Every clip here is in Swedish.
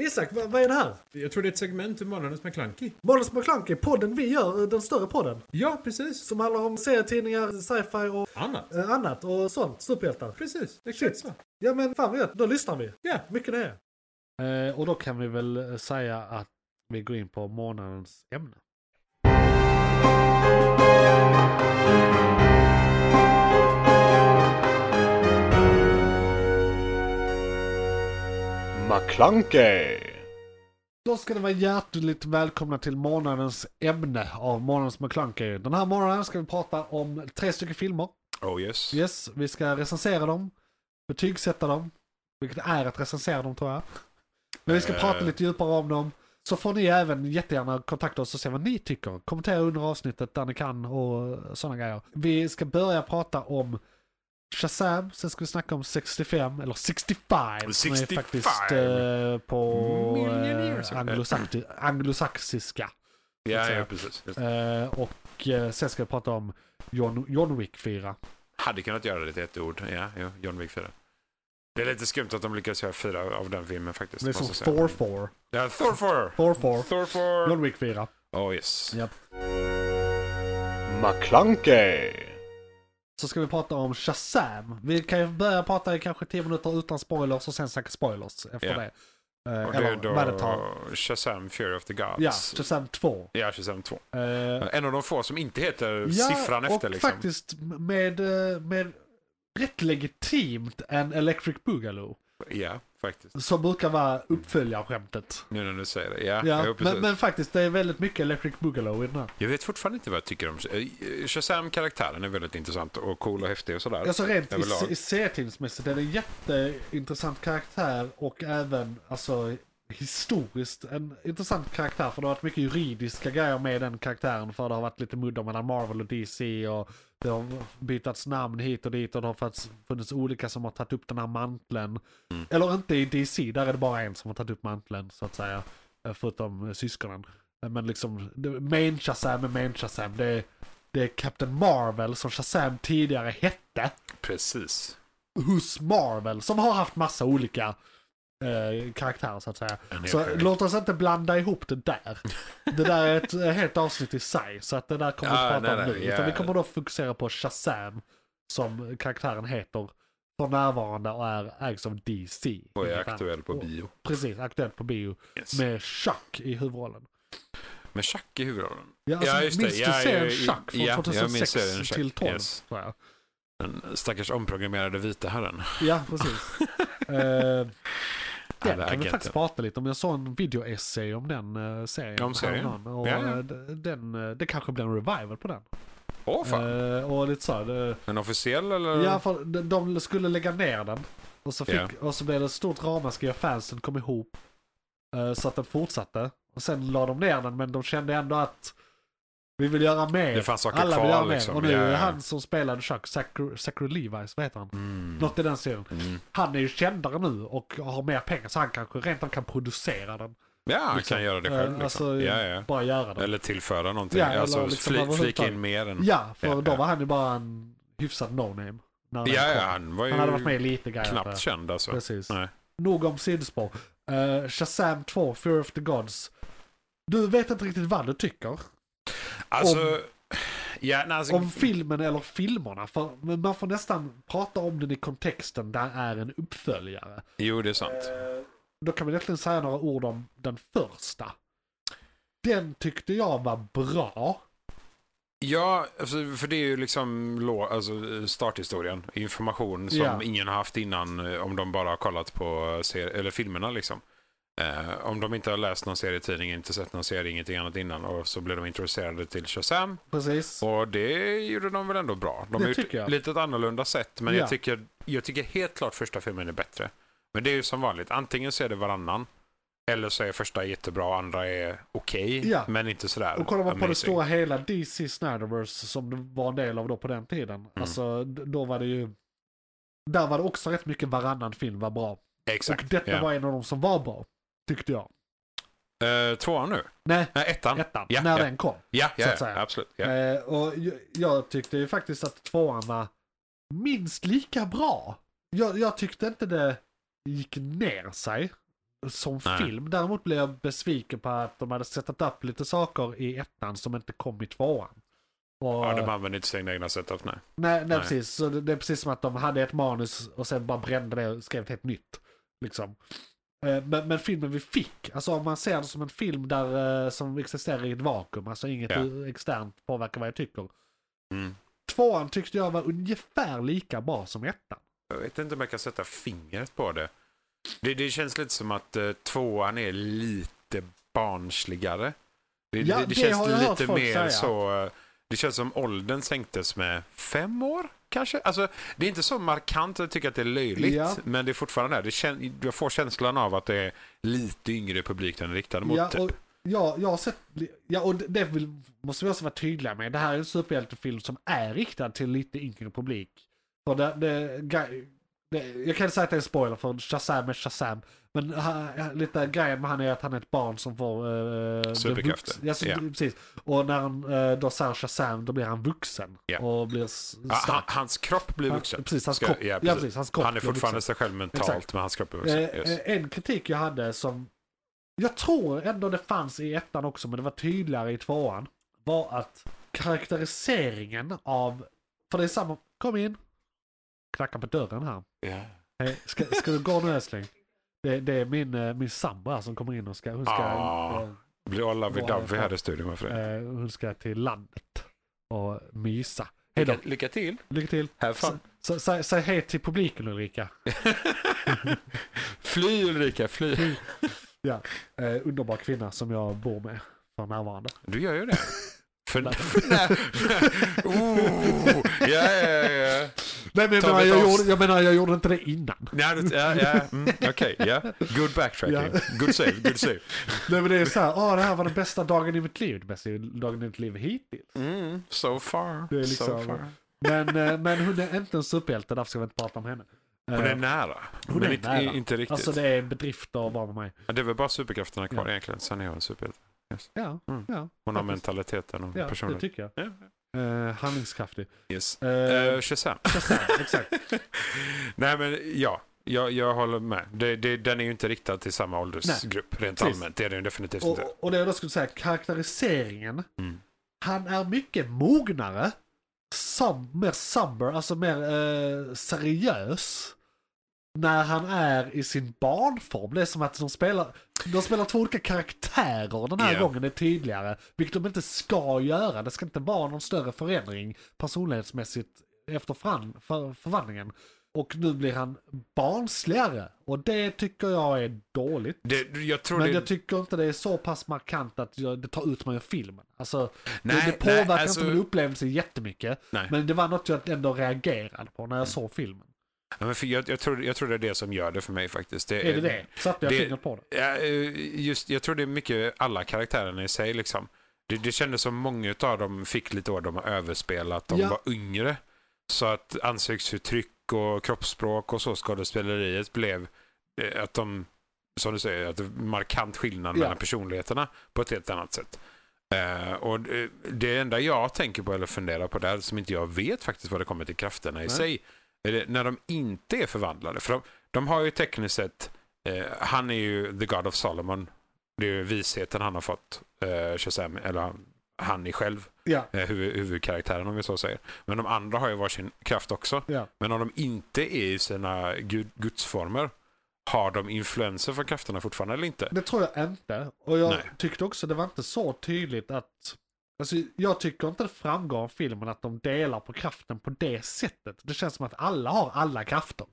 Isak, vad, vad är det här? Jag tror det är ett segment ur Månadens McKlunky. Måns McClunky, podden vi gör, eh, den större podden. Ja, precis. Som handlar om serietidningar, sci-fi och Annat. eh, annat och sånt. Superhjältar. Precis, exakt Shit. så. Ja men fan vad gött, då lyssnar vi. Ja. Mycket det. Eh, och då kan vi väl eh, säga att vi går in på månadens ämne. McClunkey! Då ska ni vara hjärtligt välkomna till månadens ämne av månadens McClunky. Den här månaden ska vi prata om tre stycken filmer. Oh yes. Yes, vi ska recensera dem, betygsätta dem, vilket är att recensera dem tror jag. Men vi ska Eh. prata lite djupare om dem. Så får ni även jättegärna kontakta oss och se vad ni tycker. Kommentera under avsnittet där ni kan och sådana grejer. Vi ska börja prata om Shazam, sen ska vi snacka om 65, eller 65 som är 65. faktiskt eh, på Millionaires. eh, anglosakti- anglosaxiska. Ja, säga. ja, precis. Just. Eh, och eh, sen ska vi prata om John, John Wick 4. Hade kunnat göra det till ett ord. Ja, jo, John Wick 4. Det är lite skumt att de lyckades göra fyra av den filmen faktiskt. Det är som måste jag säga. Thor 4. Ja, Thor 4! Thor 4. Thor 4! John Wick 4. Oh yes. Japp. McClunkey! Så ska vi prata om Shazam. Vi kan ju börja prata i kanske 10 minuter utan spoilers och sen snacka spoilers efter Ja. det. Eh, Och det Eller vad det är tar. då Shazam Fury of the Gods. Ja, Shazam 2. Ja, Shazam 2. Eh, En av de få som inte heter ja, siffran och efter liksom. faktiskt med, eh, med rätt legitimt en Electric Boogaloo. Ja, faktiskt. Som brukar vara uppföljarskämtet. Nu när du säger det. Ja, Ja, jo, precis. men, men faktiskt det är väldigt mycket Electric Boogaloo i den här. Jag vet fortfarande inte vad jag tycker om eh, Shazam-karaktären. är väldigt intressant och cool och häftig och sådär. Alltså rent i, Överlag. i serietidningsmässigt är det en jätteintressant karaktär och även alltså historiskt en intressant karaktär för det har varit mycket juridiska grejer med den karaktären för det har varit lite mudda mellan Marvel och DC och det har bytats namn hit och dit och det har funnits- funnits olika som har tagit upp den här manteln. Eller inte i DC, där är det bara en som har tagit upp manteln så att säga. eh, Förutom eh, syskonen. Eh, Men liksom, det- main Shazam är main Shazam. Det är, det är Captain Marvel som Shazam tidigare hette. Precis. Hus Marvel som har haft massa olika eh, karaktärer så att säga. En Så hel- låt oss inte blanda ihop det där. Det där är ett eh, helt avsnitt i sig så att det där kommer vi Ja, inte prata nej, om nu. nej, ja. Utan vi kommer då fokusera på Shazam som karaktären heter för närvarande och är ägs av DC. Och är Inget annat. aktuell på Och- bio. Precis, aktuell på bio. Yes. Med, Med Chuck i huvudrollen. Chuck i huvudrollen. Ja, alltså, Ja, just det. minns Ja, du ja, serien ja, Chuck från ja, jag 2006 minns serien Chuck, till 12? yes. tror jag. Den stackars omprogrammerade vita herren. Ja, precis. Eh, Den Alla kan vi agenter. faktiskt prata lite om. Jag såg en videoessay om den eh, serien. Om serien? häromdagen. Och Ja, ja. eh, d- Den, eh, det kanske blir en revival på den. Åh fan. Eh, och lite så här, det, En officiell eller? ja, för de- de skulle lägga ner den. Och så, fick, Ja. och så blev det ett stort ramaskri och fansen kom ihop. eh, så att den fortsatte. Och sen la de ner den men de kände ändå att vi vill göra mer. Det fanns saker Alla kvar, vill göra mer. liksom. Och nu Ja, är ja. han som spelade Chuck, Zachary, Zachary Levi's, vad heter han? Mm. Något i den stilen. Mm. Han är ju kändare nu och har mer pengar så han kanske rent av kan producera den. Ja, han Liksom. kan göra det själv. Eh, Liksom. alltså, ja, ja. Bara göra den. Eller tillföra någonting. Ja, eller alltså liksom fli, flika överhuvudtaget. in mer än... Ja, för Ja, då ja. var han ju bara en hyfsad no-name. när han ja, kom. ja, han var ju Han hade varit med i lite grejer. Eh, knappt känd alltså. Precis. Nej. Nog om sidospår. Eh, Shazam 2, Fear of the Gods. Du vet inte riktigt vad du tycker Alltså... ja, nej, alltså om filmen eller filmerna. För men man får nästan prata om den i kontexten där är en uppföljare. Jo, det är sant. Då kan vi egentligen säga några ord om den första. Den tyckte jag var bra. Ja, alltså, för det är ju liksom lå- alltså, starthistorien. Information som Ja. ingen har haft innan eh, om de bara har kollat på ser- eller filmerna. Liksom. Eh, om de inte har läst någon serietidning, inte sett någon serie, ingenting annat innan och så blev de introducerade till Shazam. Precis. Och det gjorde de väl ändå bra. De Det har gjort tycker jag. lite ett annorlunda sätt men Ja. jag, tycker, jag tycker helt klart första filmen är bättre. Men det är ju som vanligt, antingen så är det varannan eller så är första jättebra och andra är okej Ja. men inte sådär Och kollar man på det amazing. stora hela DC Snyderverse som det var en del av då på den tiden. Mm. Alltså d- då var det ju... Där var det också rätt mycket varannan film var bra. Exakt. Och detta ja. var en av de som var bra. Tyckte jag. Eh, tvåan nu? Nej, Nej, ettan. ettan. Ja, när ja. den kom. Ja, så ja, att ja säga. absolut. Ja. Eh, och jag, jag tyckte ju faktiskt att tvåan var minst lika bra. Jag, jag tyckte inte det gick ner sig. som Nej. film. Däremot blev jag besviken på att de hade setat upp lite saker i ettan som inte kom i tvåan. Och, Ja, de använder inte sina egna setup, nej. nej, nej, nej. precis. Så det, det är precis som att de hade ett manus och sen bara brände det och skrev ett helt nytt. Liksom. Eh, Men, men filmen vi fick, alltså om man ser det som en film där, eh, som existerar i ett vakuum, alltså inget Ja. externt påverkar vad jag tycker. Mm. Tvåan tyckte jag var ungefär lika bra som ettan. Jag vet inte om jag kan sätta fingret på det. Det, det känns lite som att eh, tvåan är lite barnsligare. Det, Ja, det, det det känns har jag hört lite folk mer säga. så... eh, Det känns som åldern sänktes med fem år kanske. Alltså, det är inte så markant att jag tycker att det är löjligt. Ja. Men det är fortfarande där. det. Kän, jag får känslan av att det är lite yngre publik den är riktad mot. Ja, typ. och, ja, jag har sett, ja, och det- det vill, måste vi också vara tydliga med. Det här är en superhjältefilm som är riktad till lite yngre publik. För det, det, gre- det, jag kan inte säga att det är en spoiler för Shazam är Shazam. Men ha, ha- lite grejen med han är att han är ett barn som får... Uh, Superkrafter. Ja, så, Ja. precis. Och när han eh, då säger Shazam då blir han vuxen. Ja. Ah, Och blir s- Ja, han, stark. hans kropp blir Han- vuxen. precis, hans Ska- kropp- ja, precis, hans kropp han är blir fortfarande vuxen. sig själv mentalt, Exakt. men hans kropp är Eh, vuxen. Just. eh, en kritik jag hade som jag tror ändå det fanns i ettan också men det var tydligare i tvåan var att karaktäriseringen av, för det är samma, kom in, knacka på dörren här. Ja. Hej, Ska, ska du gå nu älskling? Det, det är min, eh, min sambo här som kommer in och ska, hon ska, Ah. eh, Blir alla vid Vad är Dovey det? här i studion, varför det? eh, hon ska till landet och mysa. Hej då, lycka till. lycka till. Have Så- fun. så- Säg säg hej till publiken Ulrika. Fly Ulrika, fly. Ja, eh, underbar kvinna som jag bor med för närvarande. Du gör ju det. För, för när... oh, ja, ja, ja. Nej men jag Ta menar, vi jag, ett gjorde, avs- jag menar jag gjorde inte det innan. Nej, du- ja, ja. Mm, Okej, ja. Good backtracking. Good save, good save. Nej men det är så här, ah, det här var den bästa dagen i mitt liv. Den bästa dagen i mitt liv hittills. Mm, so far. Det är so liksom- far. Men, eh, men hon är inte en superhjälte, därför ska vi inte prata om henne. Eh, Hon är nära, hon men är inte, nära. inte riktigt. Alltså det är en bedrift att vara med mig. Ja, Det är väl bara superkrafterna kvar Ja. egentligen. Sen är jag en superhjälte. Ja, Mm. ja. Hon har faktiskt. mentaliteten och Ja, det personligheten. tycker jag. Ja. Eh, handlingskraftig. Yes. Eh, Uh, Shazam. Shazam, exakt. Nej men ja, jag, jag håller med. Det, det, den är ju inte riktad till samma åldersgrupp rent Precis. allmänt. Det är den ju definitivt inte. Och, och det jag då skulle säga, karaktäriseringen. Mm. Han är mycket mognare. Som, mer somber, alltså mer eh, seriös. När han är i sin barnform. Det är som att de spelar, de spelar två olika karaktärer den här Ja. gången, det är tydligare. Vilket de inte ska göra. Det ska inte vara någon större förändring personlighetsmässigt efter fran, för, förvandlingen. Och nu blir han barnsligare. Och det tycker jag är dåligt. Det, jag tror Men det, jag tycker inte det är så pass markant att jag, det tar ut mig ur filmen. Alltså, Nej, det, nej, det påverkar alltså- inte min upplevelse jättemycket. Nej. Mm. Men det var något jag ändå reagerade på när jag såg filmen. Ja, men för jag, jag, tror, jag tror det är det som gör det för mig faktiskt. Är det det? Satte jag Eh, det- fingret på det? Ja, eh, just, jag tror det är mycket alla karaktärerna i sig. Liksom. Det, det kändes som många av dem fick lite år de har överspelat. De Ja. var yngre. Så att ansiktsuttryck och kroppsspråk och så skådespeleriet blev eh, att de, som du säger, att det är markant skillnad Ja. mellan personligheterna på ett helt annat sätt. Eh, och det- Det enda jag tänker på eller funderar på där som inte jag vet faktiskt vad det kommer till krafterna i Nej. sig. är det När de inte är förvandlade. För de, de har ju tekniskt sett, eh, han är ju the God of Solomon. Det är ju visheten han har fått, eh, Shazam, eller han- han är själv, Ja, eh, huvud, huvudkaraktären om vi så säger. Men de andra har ju varsin kraft också. ja. Men om de inte är i sina gud, gudsformer, har de influenser från krafterna fortfarande eller inte? Det tror jag inte. Och jag Nej. tyckte också det var inte så tydligt att... Alltså, jag tycker inte det framgår av filmen att de delar på kraften på det sättet. Det känns som att alla har alla krafter.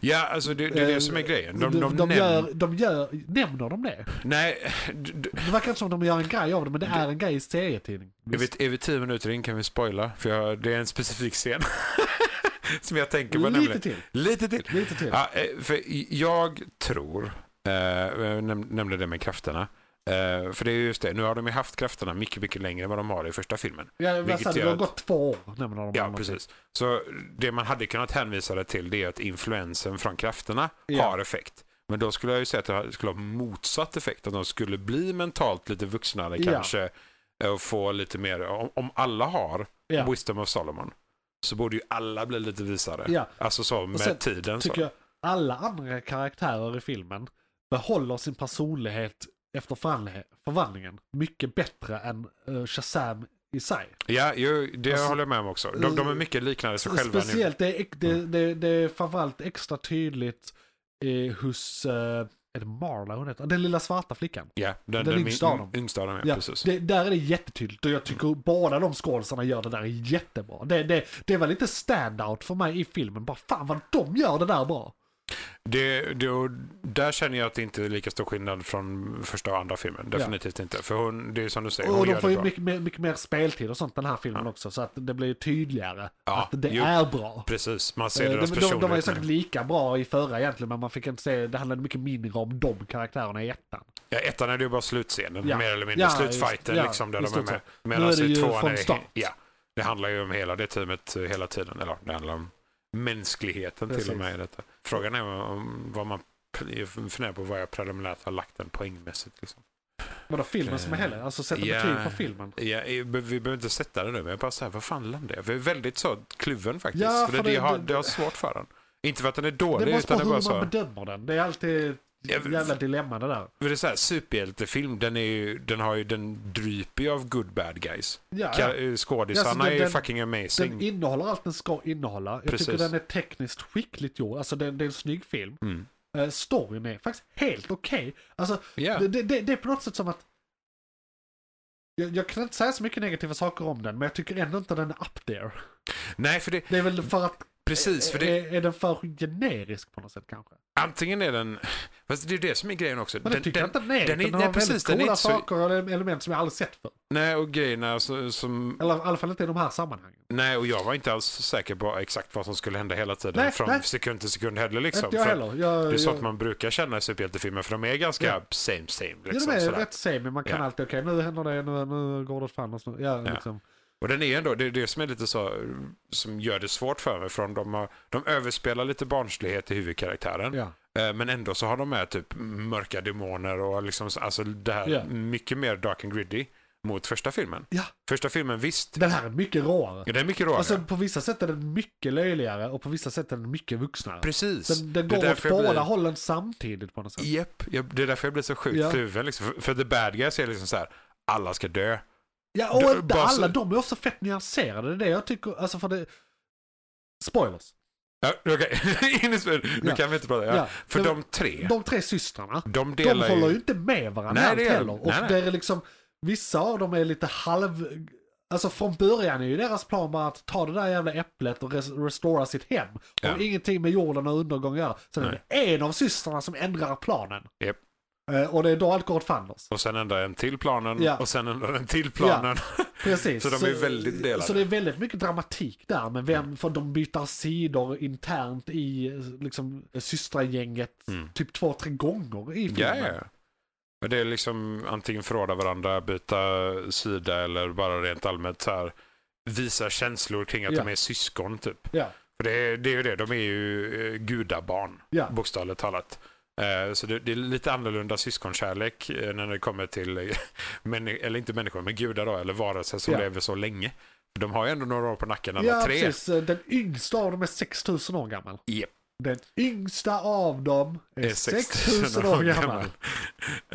Ja, alltså det, det är Eh, det som är grejen. De, de, de, näm- gör, de gör... Nämner de det? Nej, d- d- Det verkar inte som att de gör en grej av det, men det är en grej i serietidning. är vi, är vi tio minuter in kan vi spoila. För jag, det är en specifik scen som jag tänker på Lite nämligen. till. Lite till. Lite till. Ja, eh, för jag tror, eh, jag näm- nämnde det med krafterna, eh, för det är just det, nu har de ju haft krafterna mycket, mycket längre än vad de har i första filmen. Ja, vad Vilket sa du? det gör har att- gått två år nämner de. Ja, andra. precis. Så det man hade kunnat hänvisa det till det är att influensen från krafterna Ja. har effekt. Men då skulle jag ju säga att det skulle ha motsatt effekt, att de skulle bli mentalt lite vuxnare Ja. kanske eh, och få lite mer, om, om alla har Ja. Wisdom of Solomon så borde ju alla bli lite visare. Ja. Alltså så med sen tiden. Så. Tycker jag alla andra karaktärer i filmen behåller sin personlighet efter förvandling- förvandlingen mycket bättre än eh, Shazam i sig. Ja, ju, det Alltså, håller jag med om också. De, de är mycket liknande sig själva nu. Mm. Speciellt, det är, det, det, det är framförallt extra tydligt eh, hos, eh, är det Marla hon heter? Den lilla svarta flickan. Ja, Den den, den yngsta av dem. min- yngsta av dem. Ja, Ja, precis. det, där är det jättetydligt och jag tycker båda de skådisarna gör det där jättebra. Det, det, det var lite standout för mig i filmen. Bara fan vad de gör det där bra. Det, det, och där känner jag att det inte är lika stor skillnad från första och andra filmen. Definitivt inte. För hon, det är som du säger, hon Och de gör får det ju bra. mycket, mer- mycket mer speltid och sånt den här filmen också. Så att det blir tydligare Ja, att det jo. är bra. Precis, man ser Eh, De, deras de, de var ju personlighet. säkert nu. lika bra i förra egentligen men man fick inte se, det handlade mycket mindre om de karaktärerna i ettan. Ja, ettan är det ju bara slutscenen, Ja. mer eller mindre. Ja, Slutfighten just- ja, liksom, där i de är stort med. sett. Nu Medan är det i ju tvåan från är... start. Ja, det handlar ju om hela det teamet eh, hela tiden. Eller det handlar om mänskligheten till och Precis. med i detta. Frågan är om vad man jag funderar på vad jag preliminärt har lagt den poängmässigt. Liksom. Vadå filmen som Eh, helhet? Alltså sätta ja. betyg på filmen? Ja, eh, be- vi behöver inte sätta det nu, men jag bara säger, vad fan landar jag? Vi är väldigt så kluven faktiskt. Ja, för det, för det, det- har, det- det har svårt för den. Inte för att den är Det dålig, måste utan vara det hur är bara man så. bedömer den. Det är alltid Ja, men- ett jävla dilemma det där. För det är så här, superhjältefilm, den, är ju, den, har ju, den dryper ju av good bad guys. Ja, Ka- ja. eh, Skådisarna Ja, så den- är ju den- fucking amazing. Den innehåller allt den ska innehålla. Jag tycker Precis. den är tekniskt skickligt gjord. Alltså det, det är en snygg film. Mm. Eh, storyn är faktiskt helt okej. Alltså Ja. det, det- det, det är på något sätt som att... Jag, jag kan inte säga så mycket negativa saker om den, men jag tycker ändå inte den är up there. Nej, för det, Det är väl för att... precis. För det, Är, är den för generisk på något sätt kanske? antingen är den... Fast det är ju det som är grejen också. Men den, jag tycker den, inte den är. den är- Den, nej, har precis, väldigt den är coola inte så- saker och element som jag aldrig sett förr. nej, och grejerna så, som... Eller i alla fall inte i de här sammanhangen. Nej, och jag var inte alls säker på exakt vad som skulle hända hela tiden. Nej, från nej. sekund till sekund heller liksom. inte jag För- heller. Jag, Det är så jag, att man brukar känna i superhjältefilmer för de är ganska Ja. same same. ja, Liksom, de är sådär. rätt same, men man kan Ja. alltid, okej nu händer det, nu, nu går det åt fan och så. Ja, Ja. Liksom. Och den är ändå, det är det som är lite så, som gör det svårt för mig. Från de, har, de överspelar lite barnslighet i huvudkaraktären. ja. Eh, Men ändå så har de med typ mörka demoner och liksom, så- alltså det här Ja. mycket mer dark and gritty mot första filmen. Ja. Första filmen visst, Den här är mycket råare. ja, det är mycket råare. Alltså på vissa sätt är den mycket löjligare och på vissa sätt är den mycket vuxnare. Precis. Den, den Det är går åt därför jag båda blir- hållen samtidigt på något sätt. Japp, jag, det är därför jag blir så sjukt Ja. kluven. Liksom. För, för the bad guys är liksom så här, alla ska dö. Ja, och Det- inte bara så- alla, de är också fett nyanserade. Det är det jag tycker, alltså för det... Spoilers. Ja, okej. In i spel. Nu Ja. kan vi inte prata. Ja. Ja. För Det- de tre, De tre systrarna, de de delar håller ju ju... inte med varandra Nej, allt det gör de. heller. Och Nej, nej. det är liksom, vissa av dem är lite halv... Alltså från början är ju deras plan bara att ta det där jävla äpplet och res- restora sitt hem. Ja. Och ingenting med jorden och undergång att göra. Sen är det en av systrarna som ändrar planen. Japp. Eh, Och det är då allt går åt fanders. Och sen ändrar en till planen Ja. och sen ändrar en till planen. Precis. Så de är väldigt delade. Så det är väldigt mycket dramatik där. Men vem, för de byter sidor internt i liksom, systragänget Mm. typ två, tre gånger i filmen. Ja, ja. Men det är liksom antingen förråda varandra, byta sida eller bara rent allmänt så här, visa känslor kring att Ja. de är syskon typ. Ja. För det, är- det är ju det, de är ju eh, gudabarn, Ja. bokstavligt talat. Eh, Så det, det är lite annorlunda syskonkärlek eh, när det kommer till, eh, männi- eller inte människor, men gudar då, eller varelser som Ja. lever så länge. De har ju ändå några år på nacken alla ja, tre. precis. Eh, Den yngsta av dem är 6000 år gammal. Japp. Den yngsta av dem är 6000 år gammal.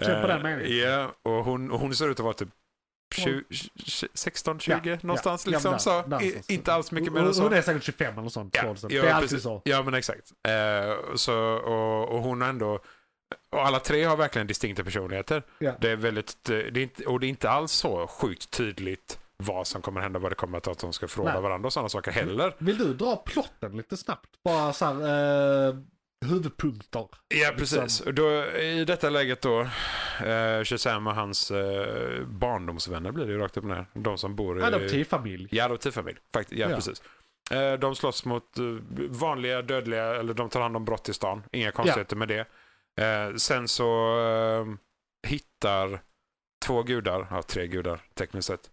Känn på den meningen. Eh, Ja, och hon, och hon ser ut att vara typ 20, 16, 20 Ja, någonstans. ja, liksom, ja, så. där- där I, någonstans. inte alls mycket mer än Hon- så. Hon är säkert 25 eller sånt. Ja, tror jag. det ja, är alltid precis. så. Ja, men exakt. Eh, så, och, och hon har ändå... Och alla tre har verkligen distinkta personligheter. Ja. Det är väldigt, eh, det är inte, och det är inte alls så sjukt tydligt vad som kommer hända, vad det kommer att ta att de ska fråga Nej. varandra och sådana saker heller. Vill du dra plotten lite snabbt? Bara så här, eh, huvudpunkter. Ja, liksom. precis. Och Då, I detta läget då, eh, Shazam och hans eh, barndomsvänner blir det ju rakt upp och ner. De som bor i... Adoptivfamilj. Ja, adoptivfamilj. Fakt, ja, Ja. precis. Eh, de slåss mot eh, vanliga dödliga, eller de tar hand om brott i stan. Inga konstigheter med det. Eh, sen så eh, hittar två gudar, ja tre gudar tekniskt sett,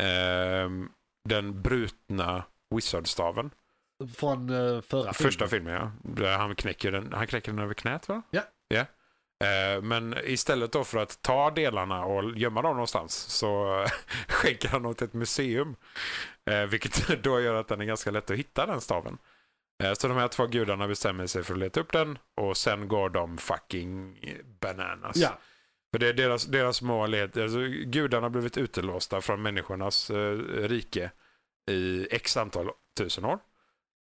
eh, den brutna wizardstaven. Från eh, förra Första filmen ja. Där han knäcker den, han knäcker den över knät va? Ja. ja. Eh, men istället då för att ta delarna och gömma dem någonstans så skänker han åt ett museum. Eh, vilket då gör att den är ganska lätt att hitta den staven. Eh, Så de här två gudarna bestämmer sig för att leta upp den och sen går de fucking bananas. Ja, För det är deras, deras mål är att alltså, gudarna har blivit utelåsta från människornas eh, rike i x antal tusen år.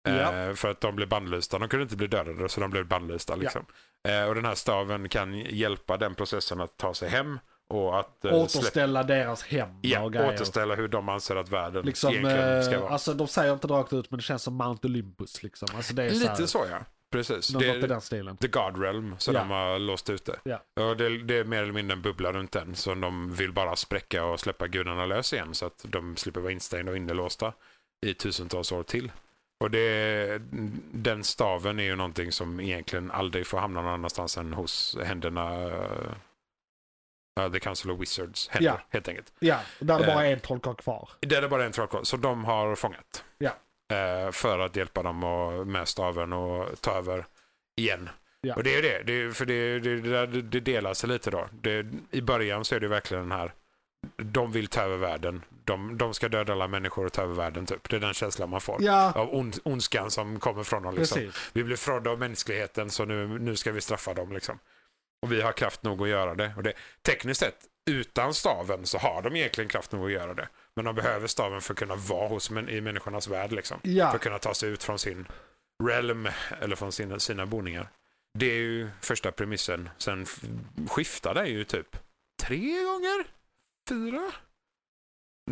Eh, för att de blev bannlysta. De kunde inte bli dödade så de blev bannlysta. Liksom. Eh, och den här staven kan hjälpa den processen att ta sig hem och att eh, släppa, återställa deras hem ja, och grejer. återställa hur de anser att världen Liksom, egentligen ska eh, vara. alltså, de säger inte rakt ut men det känns som Mount Olympus. Liksom. Alltså, det är så här, Lite så ja, precis. Något i Det, den stilen. The God Realm som Ja. de har låst ute. Ja. Och det, det är mer eller mindre en bubbla runt den som de vill bara spräcka och släppa gudarna lös igen så att de slipper vara instängda och inlåsta i tusentals år till. Och det, den staven är ju någonting som egentligen aldrig får hamna någon annanstans än hos händerna eh, uh, The Council of Wizards händer, Ja. helt enkelt. Ja, där det bara eh, är en trollkarl kvar. Det är bara en trollkarl som de har fångat. Ja. Eh, för att hjälpa dem och, med staven och ta över igen. Ja. Och det är ju det, det är, för det, det, det, där- det delar sig lite då. Det, I början så är det verkligen den här, de vill ta över världen. De, de ska döda alla människor och ta över världen typ. Det är den känslan man får. Ja, Av ond, ondskan som kommer från dem. Liksom. precis. Vi blev frådda av mänskligheten så nu, nu ska vi straffa dem. Liksom. Och vi har kraft nog att göra det. Och det. Tekniskt sett, utan staven så har de egentligen kraft nog att göra det. Men de behöver staven för att kunna vara hos, män- i människornas värld. Liksom. För Ja, att kunna ta sig ut från sin realm eller från sina, sina boningar. Det är ju första premissen. Sen f- skiftar det ju typ tre gånger? Fyra?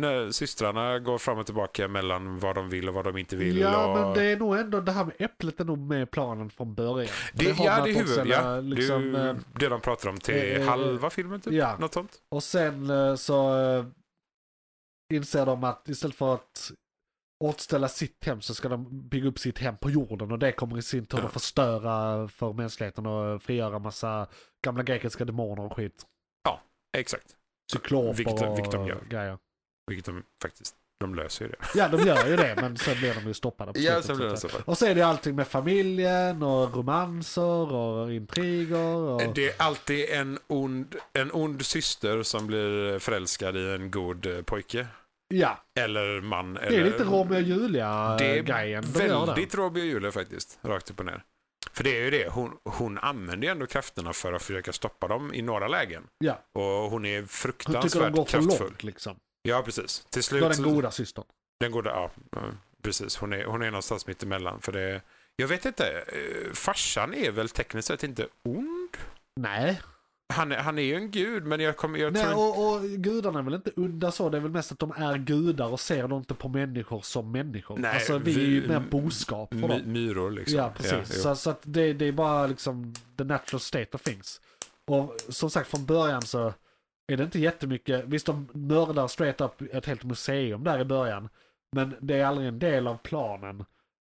När systrarna går fram och tillbaka mellan vad de vill och vad de inte vill. ja och... men det är nog ändå det här med äpplet är nog med i planen från början. Det, har ja, man det är att huvud, ställa, ja. liksom, det, är eh, ju det de pratar om till eh, halva filmen typ. ja. Något sånt. Och sen eh, så eh, inser de att istället för att återställa sitt hem så ska de bygga upp sitt hem på jorden och det kommer i sin tur Ja. att förstöra för mänskligheten och frigöra massa gamla grekiska demoner och skit. Exakt. Cykloper Vilket- och vilket de gör. grejer. Vilket de faktiskt, de löser ju det. Ja, de gör ju det men sen blir de ju stoppade. på slutet, så att säga. så. Och så är det allting med familjen och romanser och intriger. Och... Eh, Det är alltid en ond, en ond syster som blir förälskad i en god eh, pojke. Ja, Eller man. det är eller, lite Romeo och Julia-grejen. de gör där. väldigt Robbie och Julia faktiskt. Rakt upp och ner. För det är ju det, hon, hon använder ju ändå krafterna för att försöka stoppa dem i några lägen. Ja. Och hon är Hon tycker fruktansvärt de går för kraftfull. långt liksom. Ja, precis. Till slut Då den så- goda systern. Den går där, ja. ja, Precis, hon är, hon är någonstans mitt emellan. För det, jag vet inte, eh, farsan är väl tekniskt sett inte ond? Nej. Han, är- han är ju en gud, men jag, kommer jag tror Nej inte... och, och gudarna är väl inte onda så. Det är väl mest att de är gudar och ser dem inte på människor som människor. Nej, alltså vi, vi- är ju mer boskap för My, dem. myror liksom. Ja, precis. jo. så så att det, det är bara liksom the natural state of things. Och som sagt från början så är det inte jättemycket. Visst de mördar straight up ett helt museum där i början. Men det är aldrig en del av planen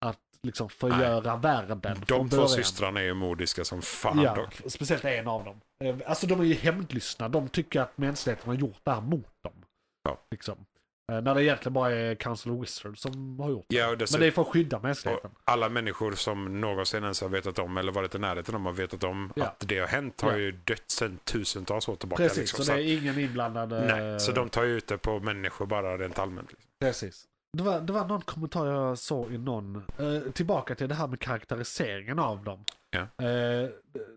att liksom förgöra världen från De två början. systrarna är ju modiska som fan Ja, dock. speciellt en av dem. Eh, Alltså de är ju hämndlystna. De tycker att mänskligheten har gjort det här mot dem. Ja. Liksom. Eh, När det egentligen bara är Council of Wizards som har gjort det. Ja, och Men dessutom, det är för att skydda och mänskligheten. alla människor som någonsin ens har vetat om eller varit i närheten om har vetat om Ja. att det har hänt har Ja. ju dött sedan tusentals år tillbaka. Precis, liksom. så det är ingen inblandad. eh, nej, så de tar ju ut det på människor bara rent allmänt. Liksom. Precis. Det var, det var någon kommentar jag såg i någon, eh, tillbaka till det här med karaktäriseringen av dem. Ja. Eh,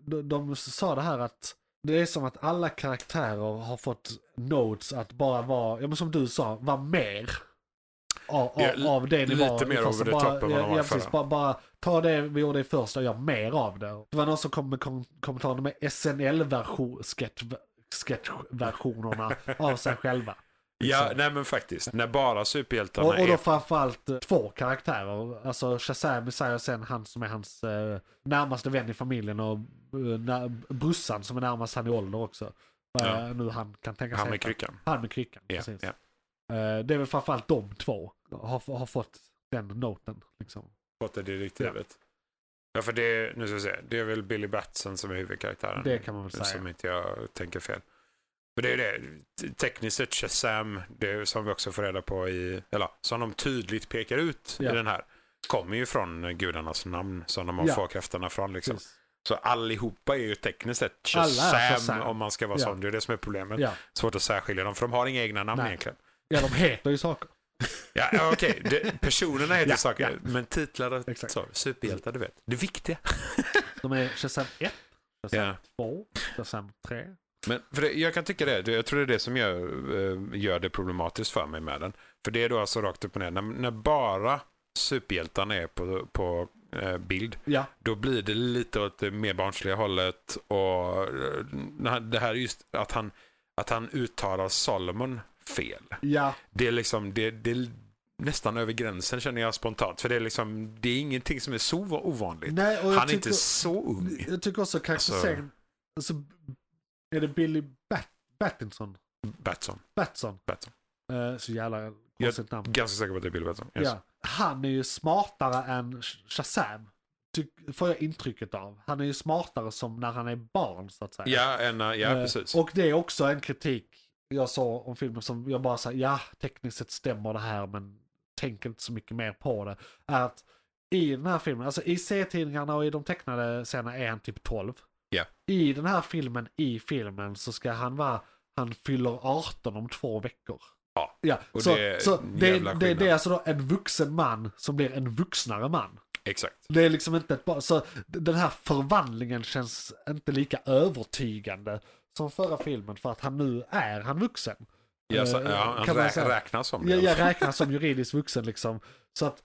de, de sa det här att det är som att alla karaktärer har fått notes att bara vara, ja men som du sa, vara mer. Av, av, Ja, av det ni lite var. i mer första. over the Bara- top än vad de ja, var i ja, precis, förra. bara, bara ta det vi gjorde i första och gör mer av det. Det var någon som kom med kom, kommentaren med SNL-version, sketch, sketchversionerna av sig själva. Ja, Liksom. nej men faktiskt. När bara superhjältarna Och, och är då framförallt eh, två karaktärer. Alltså Shazam säger sen han som är hans eh, närmaste vän i familjen och eh, na- brorsan som är närmast han i ålder också. Vad Ja. eh, nu han kan tänka sig han med heta. kryckan. Han med kryckan, Ja, precis. ja. Eh, det är väl framförallt de två har, har fått den noten. Liksom. Fått det direktivet. Ja. för det är, nu ska vi se, det är väl Billy Batson som är huvudkaraktären. Det kan man väl säga. Som inte jag tänker fel. För det är det, t- tekniskt sett Shazam, det är som vi också får reda på i, eller som de tydligt pekar ut Ja. i den här, kommer ju från gudarnas namn som de har Ja. får krafterna från. Liksom. Precis. Så allihopa är ju tekniskt sett Alla är Shazam, Shazam. om man ska vara Ja. sån. Det är det som är problemet. Ja. Svårt att särskilja dem för de har inga egna namn Nej. egentligen. ja, de heter ju saker. Ja, ja, okej. Det- Personerna heter Ja, saker, men titlar och Exakt. så. Superhjältar, du vet. Det viktiga. De är Shazam 1, Ja. 2, Shazam 3. Men för det, jag kan tycka det. det- Jag tror det är det som gör, eh, gör det problematiskt för mig med den. För det är då alltså rakt upp och ner. När, när bara superhjältarna är på, på eh, bild, Ja, då blir det lite åt det mer barnsliga hållet. Och eh, när han- det här är just att han, att han uttalar Solomon fel. ja, Det är liksom, det, det är nästan över gränsen känner jag spontant. För det är liksom, det är ingenting som är så va- ovanligt. nej och jag Eh, Han är inte tycker- så ung. Jag tycker också karaktäriseringen, alltså, är det Billy Bat- Battinson? Batson. Batson? Batson. Eh, så jävla konstigt namn. Ganska säker på att det är Bill Batson. Yes. Ja. Han är ju smartare än Sh- Shazam. Ty- får jag intrycket av. Han är ju smartare som när han är barn så att säga. Ja, en, eh, ja Eh, precis. Och det är också en kritik jag sa om filmen som jag bara sa, ja tekniskt sett stämmer det här men tänk inte så mycket mer på det. Är att i den här filmen, alltså i serietidningarna och i de tecknade scenerna är han typ 12. Ja. I den här filmen, i filmen så ska han vara, han fyller 18 om två veckor. Ja. och så, det är så en det, jävla är- det, det skillnad. är alltså då en vuxen man som blir en vuxnare man. Exakt. Det är liksom inte ett bara, så d- den här förvandlingen känns inte lika övertygande som förra filmen för att han nu är han vuxen. Ja, så, Eh, ja, han kan man rä- säga. räknas som det. Jag, i alla jag fall. räknas som juridiskt vuxen liksom. Så att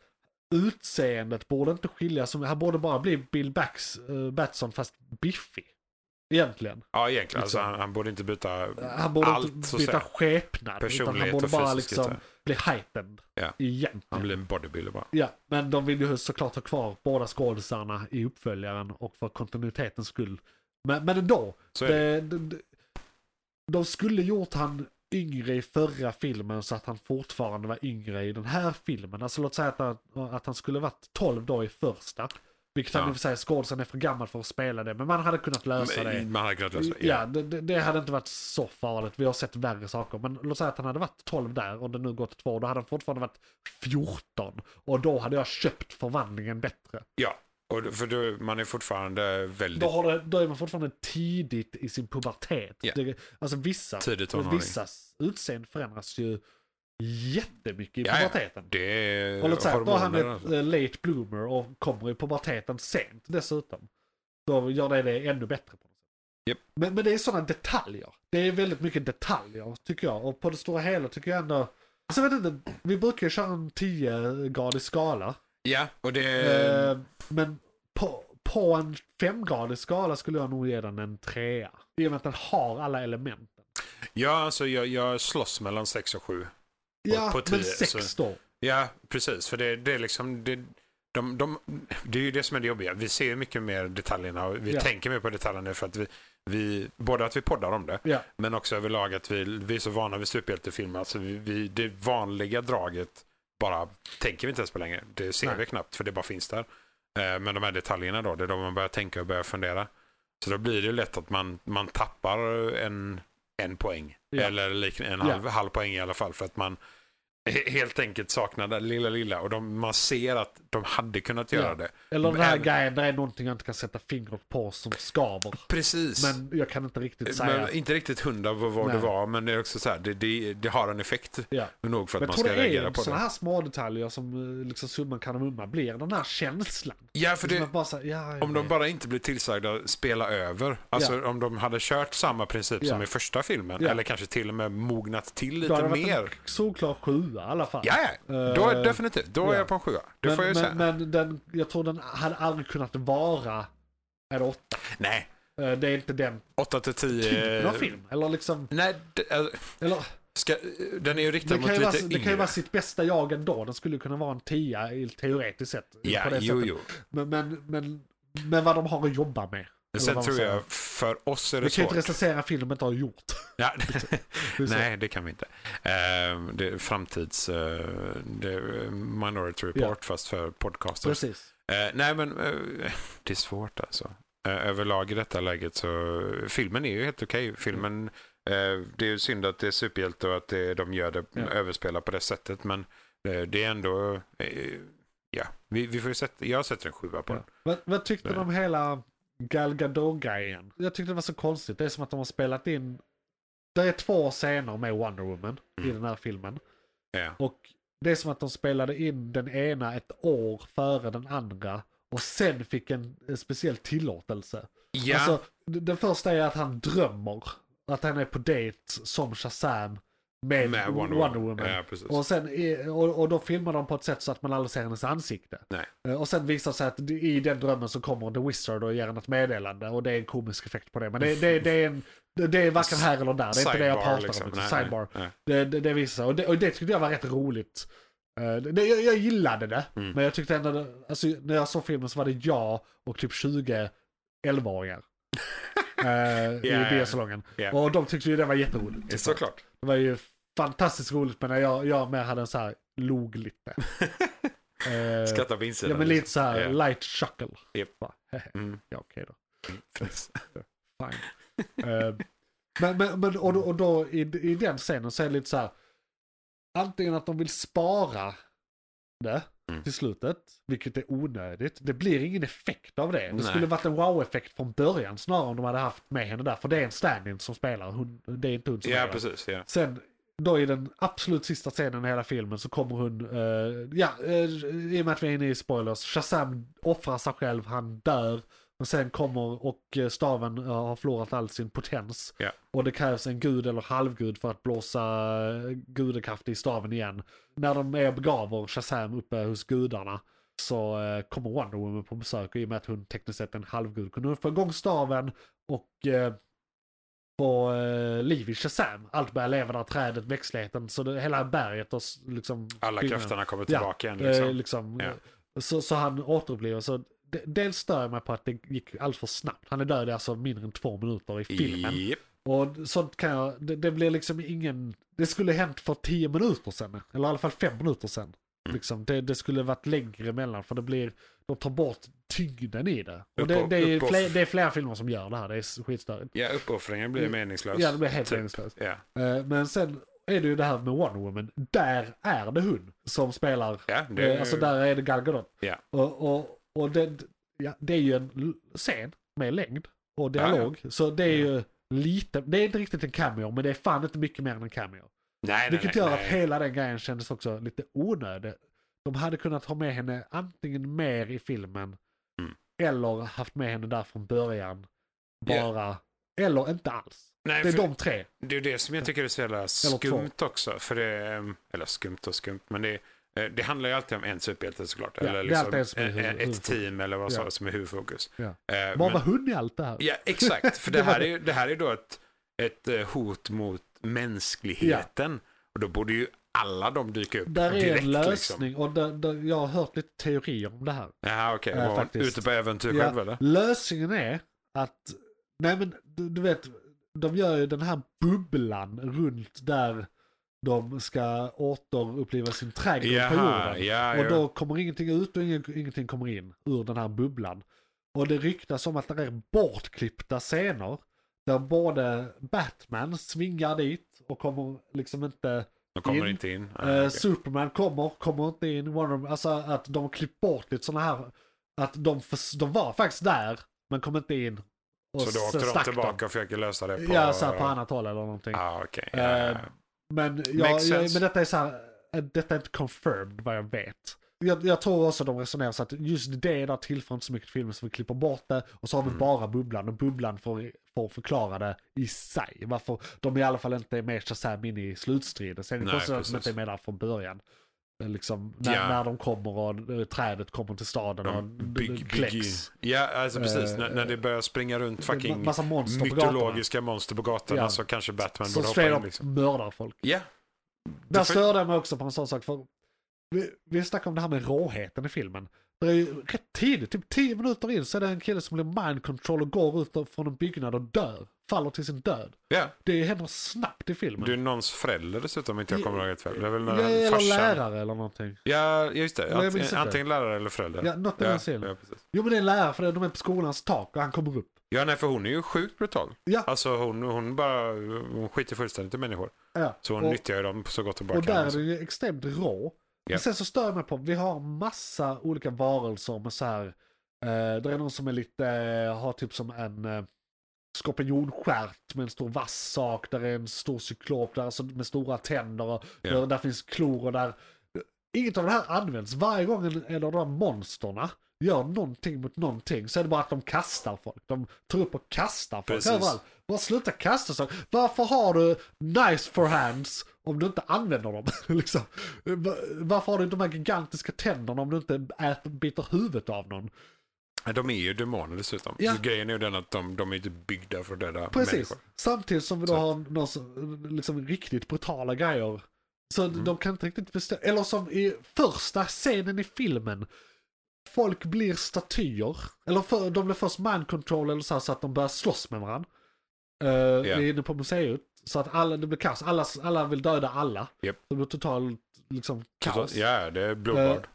utseendet borde inte skilja som han borde bara bli Bill Backs, eh, Batson fast biffig. Egentligen. Ja, egentligen. Alltså, Liksom. Eh, han, han borde inte byta Han borde allt. inte Så byta byta... skepnad. Utan han Personlighet borde och bara fysiskhet, liksom ja. bli heightened. Ja. Egentligen. Han blir en bodybuilder bara. Ja, men de vill ju såklart ha kvar båda skådisarna i uppföljaren och för kontinuitetens skull. Men, men ändå. Så är Det, det, det, de skulle gjort han yngre i förra filmen så att han fortfarande var yngre i den här filmen. Alltså låt säga att han, att han skulle varit 12 då i första. Vilket han Ja. i och för sig, skådisen är för gammal för att spela det. Men man hade kunnat lösa det. Men, man hade kunnat lösa det. Ja, det, det det hade inte varit så farligt. Vi har sett värre saker. Men låt säga att han hade varit 12 där och det nu gått två år. Då hade han fortfarande varit 14. Och då hade jag köpt förvandlingen bättre. ja. Och, då- för då, man är fortfarande väldigt Då, har det, då är man fortfarande tidigt i sin pubertet. Ja. Det, alltså vissa, tidigt tonåring. vissas utseende förändras ju jättemycket i Ja, ja. puberteten. Det är Och låt säga att då är han hormoner och ett så. eh, late bloomer och kommer i puberteten sent dessutom. Då gör det det ännu bättre. på något sätt. Japp. Men, men det är sådana detaljer. Det är väldigt mycket detaljer tycker jag. Och på det stora hela tycker jag ändå... Alltså, jag vet inte, vi brukar ju köra en 10-gradig skala. Ja, och det... Eh, Men på, på en 5-gradig skala skulle jag nog ge den en 3 I och med att den har alla elementen. Ja, alltså jag, jag slåss mellan sex och sju. Ja, på men 10, 6 så- då. Ja, precis. För det, det är liksom... Det, de, de, det är ju det som är det jobbiga. Vi ser ju mycket mer detaljerna och vi Ja. tänker mer på detaljerna för att vi, vi... Både att vi poddar om det, Ja, men också överlag att vi, vi är så vana vid superhjältefilmer. Alltså vi, vi, det vanliga draget bara tänker vi inte ens på längre. Det ser Nej. vi knappt för det bara finns där. Eh, Men de här detaljerna då, det är då man börjar tänka och börjar fundera. Så då blir det ju lätt att man, man tappar en, en poäng. Ja. Eller likn- en Ja. halv, halv poäng i alla fall. För att man he- helt enkelt saknar det lilla lilla. Och de, man ser att de hade kunnat göra Ja. det. eller den här Men- grejen, det är någonting jag inte kan sätta fingret på som skaver. Precis. Men jag kan inte riktigt säga. Men inte riktigt hundra vad vad det Nej. var, men det är också så här, det, det, det har en effekt ja. nog för att Men man jag tror ska det är reagera på det. sådana här små detaljer som eh, liksom summan kardemumma blir. Den här känslan. Ja, för Liksom det, att bara säga, ja, jag om de vet. bara inte blir tillsagda att spela över. Alltså om de hade kört samma princip som Ja. i första filmen. Ja. Eller kanske till och med mognat till Då hade lite det varit mer. en solklar sjua i alla fall. Ja, ja. Då, Eh, definitivt. Då ja. är jag på en sjua. Det men, får jag ju men, säga. men den, jag tror den hade aldrig kunnat vara en åtta. Nej, Eh, Det är inte den 8 till 10. typen av film. Eller liksom, Nej, det, äh, eller, ska, den är ju riktad det, mot kan ju lite vara, det kan ju yngre. vara sitt bästa jag ändå. Den skulle kunna vara en tia i- teoretiskt sett. Ja, på det jo, sättet. jo. Men, men, men, men vad de har att jobba med. eller Sen vad man tror säger. jag, för oss är det Vi kan ju inte svårt. recensera film inte har gjort. Ja. Vi får se. Nej, det kan vi inte. Eh, det är framtids... eh, det är Minority Report fast för podcaster. Precis. Eh, nej, men eh, det är svårt alltså. Eh, överlag i detta läget så filmen är ju helt okej. Filmen, eh, det är ju synd att det är superhjälte och att det, de gör det, Ja. överspelar på det sättet. Men eh, det är ändå, eh, ja, vi, vi får ju sätta, jag sätter en sjua på den. Ja. Vad, vad tyckte Nej. du om hela Gal Gadot-grejen? Jag tyckte det var så konstigt. Det är som att de har spelat Mm. in... Det är två scener med Wonder Woman i den här filmen. Ja. Och Det är som att de spelade in den ena ett år före den andra och sen fick en eh, speciell tillåtelse. Ja, Alltså, d- den första är att han drömmer att han är på dejt som Shazam med, med Wonder, Woman. Ja, precis. Och, sen, i- och, och då filmar de på ett sätt så att man aldrig ser hennes ansikte. Nej. Eh, Och sen visar det sig att det- i den drömmen så kommer The Wizard och ger henne ett meddelande och det är en komisk effekt på det. Men det, det, det, är, en, det- det är varken här eller där, det är inte det jag Sidebar, pratar liksom. om. utan Nej, nej, Sidebar. nej. Det, det, det visar sig. och det, och det tyckte jag var rätt roligt. Eh, Det, jag, jag gillade det, Mm. men jag tyckte ändå, det- alltså, när jag såg filmen så var det jag och typ 20 11-åringar. eh, ja. I biosalongen. Ja. Och de tyckte ju det var jätteroligt. Det är Såklart. Det var ju fantastiskt roligt men när jag, jag med hade en så här log lite. Eh, Skratta på insidan. ja men lite så här Ja. light chuckle. Japp. Va? Hehe. Mm. ja okej då. Fniss. Fine. Eh, men men, men och, då- och då i, i den scenen så är det lite så här. Antingen att de vill spara det Mm. till slutet, vilket är onödigt. Det blir ingen effekt av det. Det Nej. skulle varit en wow-effekt från början snarare om de hade haft med henne där. För det är en stand-in som spelar, hon, det är inte hon som Ja, spelar. precis. Ja. Sen då i den absolut sista scenen i hela filmen så kommer hon, eh, ja, eh, i och med att vi är inne i spoilers, Shazam offrar sig själv, han dör. Och sen kommer och eh, staven eh, har förlorat all sin potens. Ja. Och det krävs en gud eller halvgud för att blåsa eh, gudakraft i staven igen. När de är och begraver Shazam uppe hos gudarna så eh, kommer Wonder Woman på besök och i och med att hon tekniskt sett är en halvgud kunde hon få igång staven och eh, på eh, liv i Shazam. Allt börjar leva där, trädet, växtligheten, så det, hela berget och s- liksom... Alla byggnaden. krafterna kommer Ja, tillbaka igen. Eh, Liksom. liksom Ja. eh, så, så han återupplivar, så d- dels stör jag mig på att det gick allt för snabbt. Han är död i alltså mindre än två minuter i filmen. Japp. Och sånt kan jag, det, det blir liksom ingen, det skulle hänt för tio minuter sedan, eller i alla fall fem minuter sedan. Liksom, det, det skulle varit längre emellan för det blir, de tar bort tyngden i det. Och det, Uppoff- det, är, uppoff- fler, det är flera filmer som gör det här, det är skitstörigt. Ja, uppoffringen blir meningslös. Mm. Ja, det blir helt Typ. meningslöst. Ja. Eh, Men sen är det ju det här med Wonder Woman. Där är det hon som spelar. Ja, det är Eh, Alltså ju- där är det Gal Gadot. Ja. Och, och, och det, ja, det är ju en l- scen med längd och dialog. Så det är ju lite, det är inte riktigt en cameo men det är fan inte mycket mer än en cameo. Nej, nej, Vilket nej, gör att nej. hela den grejen kändes också lite onödig. De hade kunnat ha med henne antingen mer i filmen Mm. eller haft med henne där från början. Ja. Bara, eller inte alls. Nej, Det är för- de tre. Det är ju det som jag tycker är så jävla skumt också. För det, är- mm, eller skumt och skumt, men det, är- eh, det handlar ju alltid om en superhjälte såklart. Ja, det eller är liksom alltid en som är eh, huvud- ett huvudfokus. team eller vad som Ja. som är huvudfokus. Ja. Eh, Var men- var hon i allt det här? Ja, exakt. För det Det var här det. är, ju- det här är då ett, ett eh, hot mot mänskligheten. Och då borde ju alla de dyka upp Där är direkt. en Liksom. lösning och där, där jag har hört lite teorier om det här. Jaha, okej. Ja, Var hon Eh, faktiskt. ute på äventyr Ja, själv eller? Lösningen är att, nej men du, du vet, de gör ju den här bubblan runt där de ska återuppliva sin trädgård på Jaha, jorden. ja, Och ja. då kommer ingenting ut och ingen- ingenting kommer in ur den här bubblan. Och det ryktas om att det är bortklippta scener där både Batman svingar dit och kommer liksom inte De kommer in. inte in. Ah, Eh, okej. Superman kommer, kommer inte in. Wonder Woman, alltså att de har klippt bort lite sådana här, att de, förs- de var faktiskt där, men kom inte in. Och Så då åkte sen de stack tillbaka och försöker lösa det på... ja, så här på annat håll eller någonting. Ah, okej. Ja, ja, ja. Eh, Men, jag, Makes jag, sense. men detta är så här, eh, detta är inte confirmed vad jag vet. Jag, jag tror också de resonerar så att just det där tillför inte så mycket film så vi klipper bort det och så har vi Mm. bara bubblan och bubblan får, får förklara det i sig. Varför de i alla fall inte är med Shazam in i slutstriden. Sen är det Nej, konstigt att de precis. inte är med där från början. Eh, Liksom, när, Ja. när de kommer och eh, trädet kommer till staden och De d- d- big, big, kläcks. ja, alltså precis. Eh, när, när det börjar springa runt Ma- fucking massa monster på gatorna. mytologiska monster på gatorna Ja. så kanske Batman Som borde hoppa straight in. up Liksom. mördar folk. Ja, Där för- störde jag mig också på en sån sak. För vi, vi snackade om det här med råheten i filmen. Det är ju rätt tidigt, typ 10 minuter in, så är det en kille som blir mind control och går ut från en byggnad och dör. Faller till sin död. ja. Det händer snabbt i filmen. Du är någons förälder dessutom om inte jag kommer ihåg rätt fel. Det är väl när ja, han- eller farsan... lärare eller någonting. Ja, just det. Eller jag Ant- minns inte. antingen lärare eller förälder. Ja, något i ja, den stilen. ja, precis. Jo men det är en lärare för de är på skolans tak och han kommer upp. ja, nej för hon är ju sjukt brutal. Ja. Alltså hon, hon bara hon skiter fullständigt i människor. Ja. Så hon och, nyttjar ju dem så gott hon bara och kan. där är alltså. den ju extremt rå. Ja. Men sen så stör jag mig på, vi har massa olika varelser med så här, eh, det är någon som är lite, eh, har typ som en eh, skorpionstjärt med en stor vass sak, där är en stor cyklop där, alltså, med stora tänder, och Ja. där, där finns klor och där Inget av det här används. Varje gång en- en av de här monsterna gör någonting mot någonting så är det bara att de kastar folk. De tar upp och kastar folk Precis. överallt. Bara sluta kasta saker. Varför har du nice for hands om du inte använder dem? liksom. Va- Varför har du inte de här gigantiska tänderna om du inte äter, biter huvudet av någon? De är ju demoner dessutom. Ja. Så grejen är ju den att de, de är inte byggda för att döda Precis. människor. Samtidigt som vi då Så. har någon som, liksom riktigt brutala grejer. Så Mm. de kan inte riktigt bestämma. Eller som i första scenen i filmen. Folk blir statyer. Eller för, de blir först mind control eller så, här, så att de börjar slåss med varandra. Eh, Vi är inne på museet. Så att alla, det blir kaos. Alla, alla vill döda alla. Japp. Det blir totalt liksom, kaos. Alltså, Ja, det är Eh. blodbad.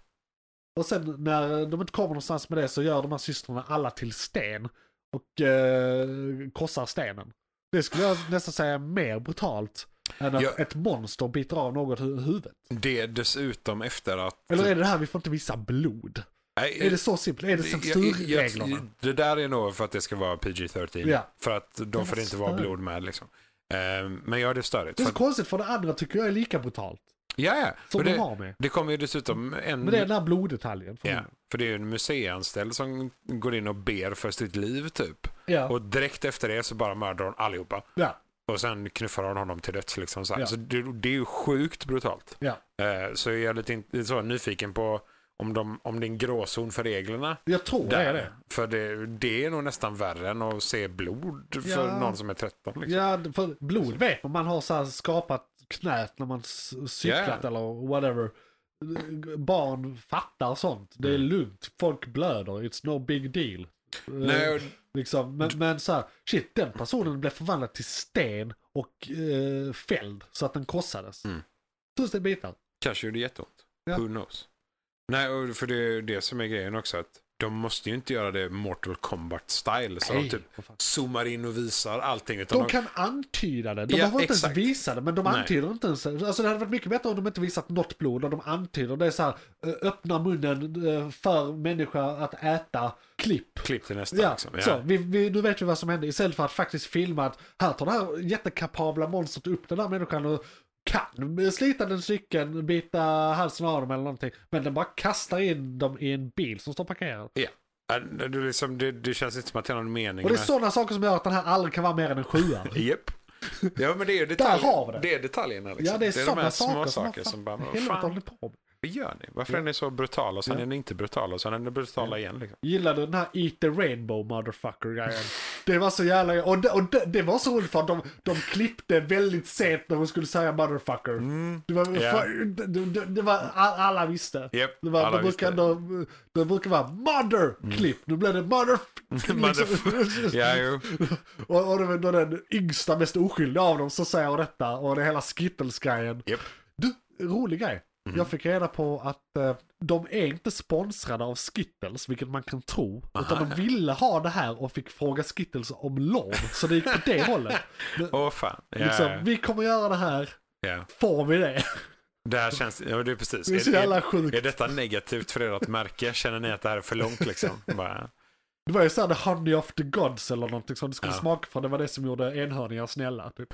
Och sen när de inte kommer någonstans med det så gör de här systrarna alla till sten. Och eh, korsar stenen. Det skulle jag nästan säga är mer brutalt än att Ja. ett monster biter av något hu- huvudet. Det är dessutom efter att... Eller är det det här vi får inte visa blod? Nej, Är det så simpelt? Är det jag- censurreglerna? jag- Det där är nog för att det ska vara PG-13. Ja. För att de vad får inte vara störigt. blod med liksom. Ehm, Men ja, det är störigt. Det är så För att, konstigt för det andra tycker jag är lika brutalt. ja, ja. Som Och de det, har med. det kommer ju dessutom en... Men det är den här bloddetaljen. För ja, för det är ju en museianställd som går in och ber för sitt liv typ. ja. Och direkt efter det så bara mördar hon allihopa. ja. Och sen knuffar hon honom till döds. Liksom, så här. Ja. så det, det är ju sjukt brutalt. Ja. Eh, så jag är lite in, lite så nyfiken på om, de, om det är en gråzon för reglerna. Jag tror det är det. För det, det är nog nästan värre än att se blod för Ja. någon som är 13. Liksom. Ja, för blod vet man. Man har så här skapat knät när man s- cyklat Ja. eller whatever. Barn fattar sånt. Det är Mm. lugnt. Folk blöder. It's no big deal. Nej, Eh, och- liksom. men, men så här, shit, den personen blev förvandlad till sten och eh, fälld så att den krossades. Mm. Tusen bitar. Kanske gjorde jätteont. Ja. Who knows? Nej, och för det är det som är grejen också. att De måste ju inte göra det Mortal Kombat style. Så de Nej, typ vad fan. zoomar in och visar allting. Utan De kan antyda det. De Ja, behöver inte exakt. ens visa det, men de Nej. antyder inte ens. Alltså det hade varit mycket bättre om de inte visat något blod och de antyder. Det är så här, eh, öppna munnen eh, för människa att äta klipp. Klipp till nästa. Ja, liksom. ja. så. Vi, vi, nu vet vi vad som hände. Istället för att faktiskt filma att här tar det här jättekapabla monstret upp den här människan och kan slita den cykeln, bita halsen av dem eller någonting. Men den bara kastar in dem i en bil som står parkerad. Ja. Ja, Det, det liksom, det, det känns inte som att det är någon mening. Och det är med- sådana saker som gör att den här aldrig kan vara mer än en sjua. Japp. Ja men det är ju har vi detaljer. det. Det är detaljerna. Liksom. Ja, det är, de sådana här saker, små som man saker fan- som bara, vad helvete fan håller på med? vad gör ni? Varför är ni så brutala och sen är ni inte brutala och sen är ni brutala igen. Liksom. gillade den här Eat the Rainbow motherfucker-grejen. Det var så jävla... Och det, och det, det var så roligt för att de, de klippte väldigt sent när hon skulle säga motherfucker. Det, var, Mm. Ja. för, det, det, det var... all- Alla visste. Japp, det var, alla de, brukar, visste. de, de brukar vara mother-klipp. Nu blev det mother... Liksom. Motherf- Ja, jo. och, och det var då den yngsta, mest oskyldiga av dem som säger detta. Och det är hela Skittles-grejen. Japp. Du, rolig grej. Mhm. Jag fick reda på att eh, de är inte sponsrade av Skittles, vilket man kan tro. Utan de ville ha det här och fick fråga Skittles om lov. Så det gick på det hållet. Åh fan. Ja, Liksom, vi kommer göra det här, ja. får vi det? Det här känns, ja det är precis. Det är så jävla sjukt. är detta negativt för ert märke? Känner ni att det här är för långt liksom? Bara, Det var ju såhär the honey of the gods eller någonting som det skulle Ja. smaka för. Det var det som gjorde enhörningar snälla. Typ.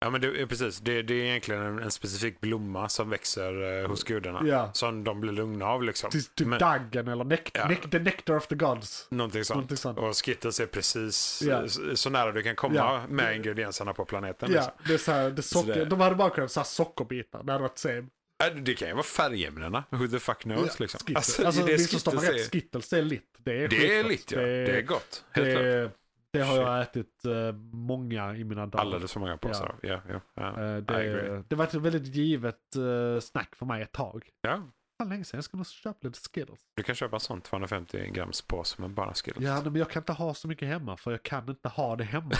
ja men det är precis, det, det är egentligen en, en specifik blomma som växer eh, hos gudarna. Ja. Som de blir lugna av liksom. Typ, typ Men- daggen eller nec- Ja. nec- the nectar of the gods. Någonting sånt. Någonting sånt. Och Skittles är precis Alltså. Ja. eh, så, så nära du kan komma Ja. med ingredienserna på planeten. Ja, Liksom. det är såhär, det socker, det- de hade bara kunnat såhär sockerbitar. Det hade varit same. Äh, Det kan ju vara färgämnena. Who the fuck knows liksom. Skittles. Alltså, alltså, det missförstå mig Skittles rätt, är- Skittles det är litt. Det är, Det är skitgott. lite ja. Det är gott. Helt klart. det, det har jag ätit eh, många i mina dagar. Alldeles för många påsar Ja. av. Ja, ja, ja. Eh, I agree. det, det var ett väldigt givet eh, snack för mig ett tag. ja. Fan länge sedan, jag ska nog köpa lite Skittles. Du kan köpa en sån 250 grams påse med bara Skittles. Ja, nej, men jag kan inte ha så mycket hemma för jag kan inte ha det hemma.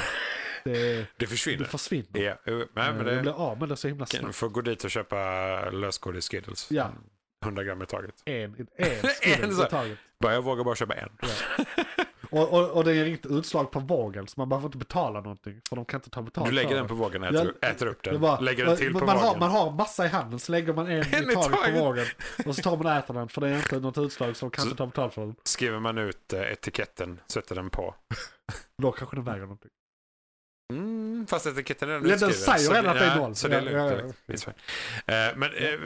Det, Det det försvinner. försvinner. Ja, jo, nej, men Eh, Jag det... blir av med det så himla Du snabbt. får gå dit och köpa lösgodis Skittles. Ja. 100 gram i taget. En, en, Skittles så. i taget. Bara, jag vågar bara köpa en. Och, och, och det ger inget utslag på vågen så man behöver inte betala någonting för de kan inte ta betalt Du lägger för den det. på vågen och äter, Jag- äter upp Det är den. bara- lägger den till man, på man vågen. Har, man har massa i handen så lägger man en, En i i taget på taget. vågen. Och så tar man och äter den för det är inte något utslag som kanske Så- tar betalt för den. Skriver man ut eh, etiketten, sätter den på. Då kanske den väger någonting. Mm, fast etiketten är redan Ja, den utskriven, säger så redan det- att det är ja, noll. Så det är Ja, lugnt. ja, det ja. är visst fine. Eh,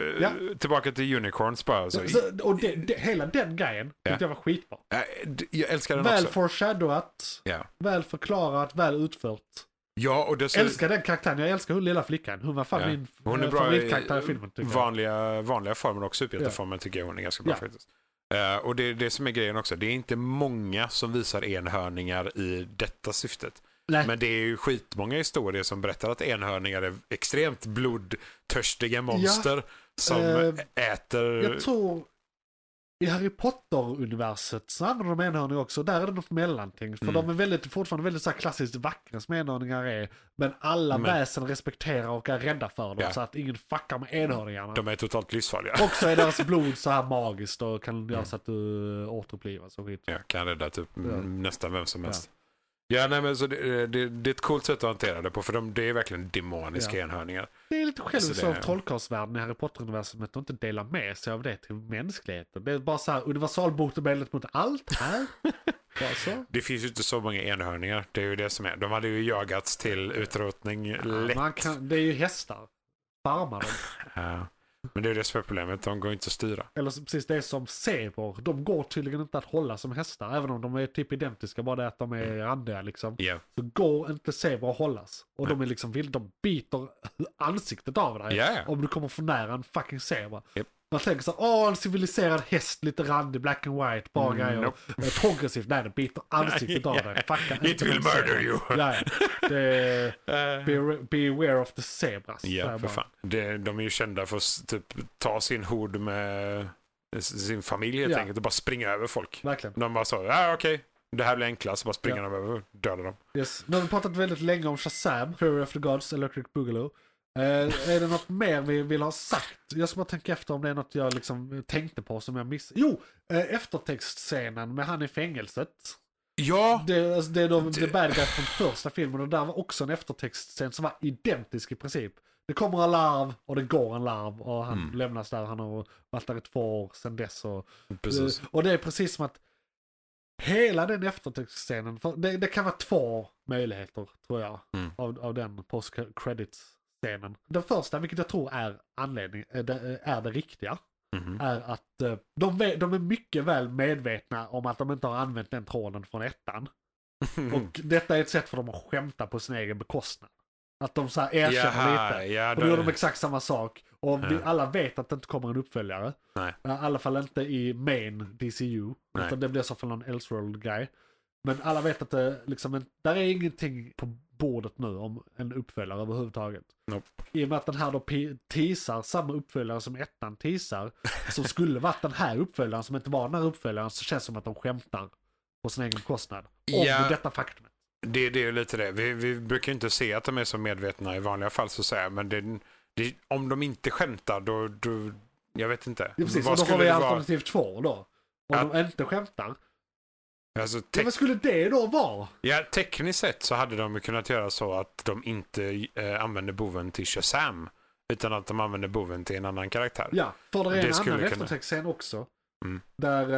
Men eh, Ja. tillbaka till Unicorns bara. alltså, Så, Så, och det, det, hela den grejen Ja. tyckte jag var skitbra. Eh, d- jag älskar den Väl också. foreshadowat, Ja. väl förklarat, väl utfört. Ja, och dessutom, älskar den karaktären, jag älskar hon lilla flickan. Hon var fan Ja. min hon är eh, bra favoritkaraktär i i filmen. Tycker jag. vanliga, vanliga former också. Superhjälteformen tycker jag hon är ganska bra Ja. faktiskt. Eh, och det är det som är grejen också. Det är inte många som visar enhörningar i detta syftet. Nej. Men det är ju skitmånga historier som berättar att enhörningar är extremt blodtörstiga monster som Eh, äter... Jag tror i Harry Potter-universet så använder de enhörningar också. Där är det något mellanting. Mm. För de är väldigt, fortfarande väldigt så här klassiskt vackra som enhörningar är. Men alla Men- väsen respekterar och är rädda för dem. Mm. Ja. Så att ingen fuckar med enhörningarna. De är totalt livsfarliga. Och så är deras blod så här magiskt och Mm. kan göra så att du eh, återupplivas och skit. Ja, kan rädda typ m- nästan vem som Ja. helst. Ja, nej, men så det, eh, det, det är ett coolt sätt att hantera det på för de, det är verkligen demoniska Ja. enhörningar. Det är lite själviskt Så Alltså, det- av trollkarlsvärlden i Harry Potter-universum att de inte delar med sig av det till mänskligheten. Det är bara så här universalbotemedlet mot allt här. bara så. Det finns ju inte så många enhörningar. Det är ju det som är. De hade ju jagats till utrotning lätt. Man kan, det är ju hästar. Farmar dem. Ja. Men det är ju det som är problemet. De går inte att styra. Eller så- precis det som zebror. De går tydligen inte att hålla som hästar. Även om de är typ identiska. Bara det att de Mm. är randiga liksom. Ja. Så går inte zebror att hållas. Och de är liksom vill, de biter ansiktet av dig. Ja, ja. Om du kommer för nära en fucking zebra. Japp. Man tänker så här, åh en civiliserad häst, lite randig, black and white, bra Mm, grejer. Eh, Progressivt, nej det biter ansiktet av dig. Fucka It will en zebra. murder you. Ja, ja. det, be, beware of the zebras. Eh, Ja, säger för man. fan. Det, de är ju kända för att s- typ, ta sin hord med s- sin familj helt Ja. enkelt och bara springa över folk. Verkligen. De bara så, ja ah, okej, det här blir enklast. Så bara springer Ja. de över och dödar dem. Yes. Nu har vi pratat väldigt länge om Shazam, Fury of the Gods, Electric Boogaloo. Eh, är det något mer vi vill ha sagt? Jag ska bara tänka efter om det är något jag liksom tänkte på som jag missade. Jo! Eh, eftertextscenen med han i fängelset. Ja, Det, alltså, det är de, the bad guy från första filmen och där var också en eftertextscen som var identisk i princip. Det kommer en larv och det går en larv och han lämnas där. Han har varit där i två år sedan dess. Och, precis. Eh, Och det är precis som att hela den eftertextscenen, för det, det kan vara två möjligheter tror jag Mm. av, av den post credits scenen Den första, vilket jag tror är anledning, eh, det, eh, är det riktiga, Mhm. är att eh, de, ve- de är mycket väl medvetna om att de inte har använt den tråden från ettan. Mm-hmm. Mm. Och detta är ett sätt för dem att skämta på sin egen bekostnad. Att de så här erkänner lite. Ja, Och då gör där- de exakt samma sak. Och vi Ja. alla vet att det inte kommer en uppföljare. Eh, Nej. I alla fall inte i main DCU. Nej. Utan det blir så för någon Elseworld guy. Men alla vet att det liksom, en- där är ingenting på bordet nu om en uppföljare överhuvudtaget. Nope. I och med att den här då pi- teasar samma uppföljare som ettan teasar. Som skulle varit den här uppföljaren som inte var den här uppföljaren. Så känns det som att de skämtar på sin egen kostnad. Om Ja. detta faktum. Det, det är ju lite det. Vi, vi brukar ju inte se att de är så medvetna i vanliga fall så att säga. Men det, det, om de inte skämtar då, då jag vet inte. Ja, precis, Vad och då har vi skulle det vara? alternativ två då. Om Ja. de inte skämtar. Alltså, Ja, te- vad skulle det då vara? ja, tekniskt sett så hade de ju kunnat göra så att de inte eh, använder boven till Shazam. Utan att de använder boven till en annan karaktär. Ja, för det Det är en skulle annan kunna. eftertextscen också. Mm. Där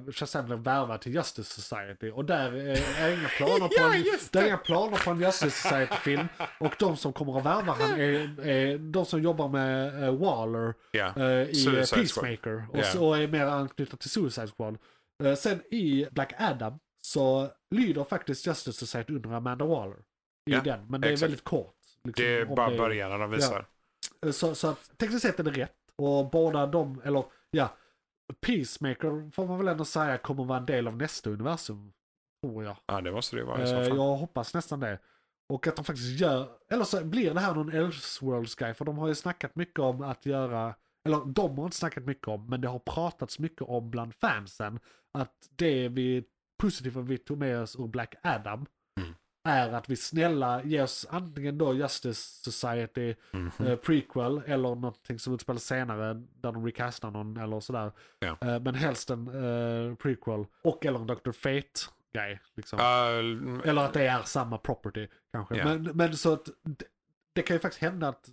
uh, Shazam blir värvad till Justice Society och där eh, är inga planer på en, där är inga planer på en Justice Society-film. Och de som kommer att värva han är, är de som jobbar med eh, Waller Ja. eh, i eh, Suicide Squad. Peacemaker och, Ja. så, och är mer anknutna till Suicide Squad. Eh, sen i Black Adam så lyder faktiskt Justice Society under Amanda Waller. I Ja, den, men det är exakt. väldigt kort. liksom, det är om bara det- början de visar. Eh, så, så att tekniskt sett är det rätt. Och båda de, eller ja, Peacemaker får man väl ändå säga kommer vara en del av nästa universum. Tror jag. Ja. det måste det ju vara i så Eh, fall. jag hoppas nästan det. Och att de faktiskt gör, eller så blir det här någon Elseworlds guy för de har ju snackat mycket om att göra, eller de har inte snackat mycket om, men det har pratats mycket om bland fansen att det vi positiva vi tog med oss ur Black Adam Mm. är att vi snälla ger oss antingen då Justice Society Mhm. eh, prequel eller någonting som utspelar senare där de recastar någon eller sådär. Ja. Eh, men helst en eh, prequel och eller en Dr. Fate grej. Liksom. Ja, Eller att det är samma property kanske. Ja. Men, men så att det, det kan ju faktiskt hända att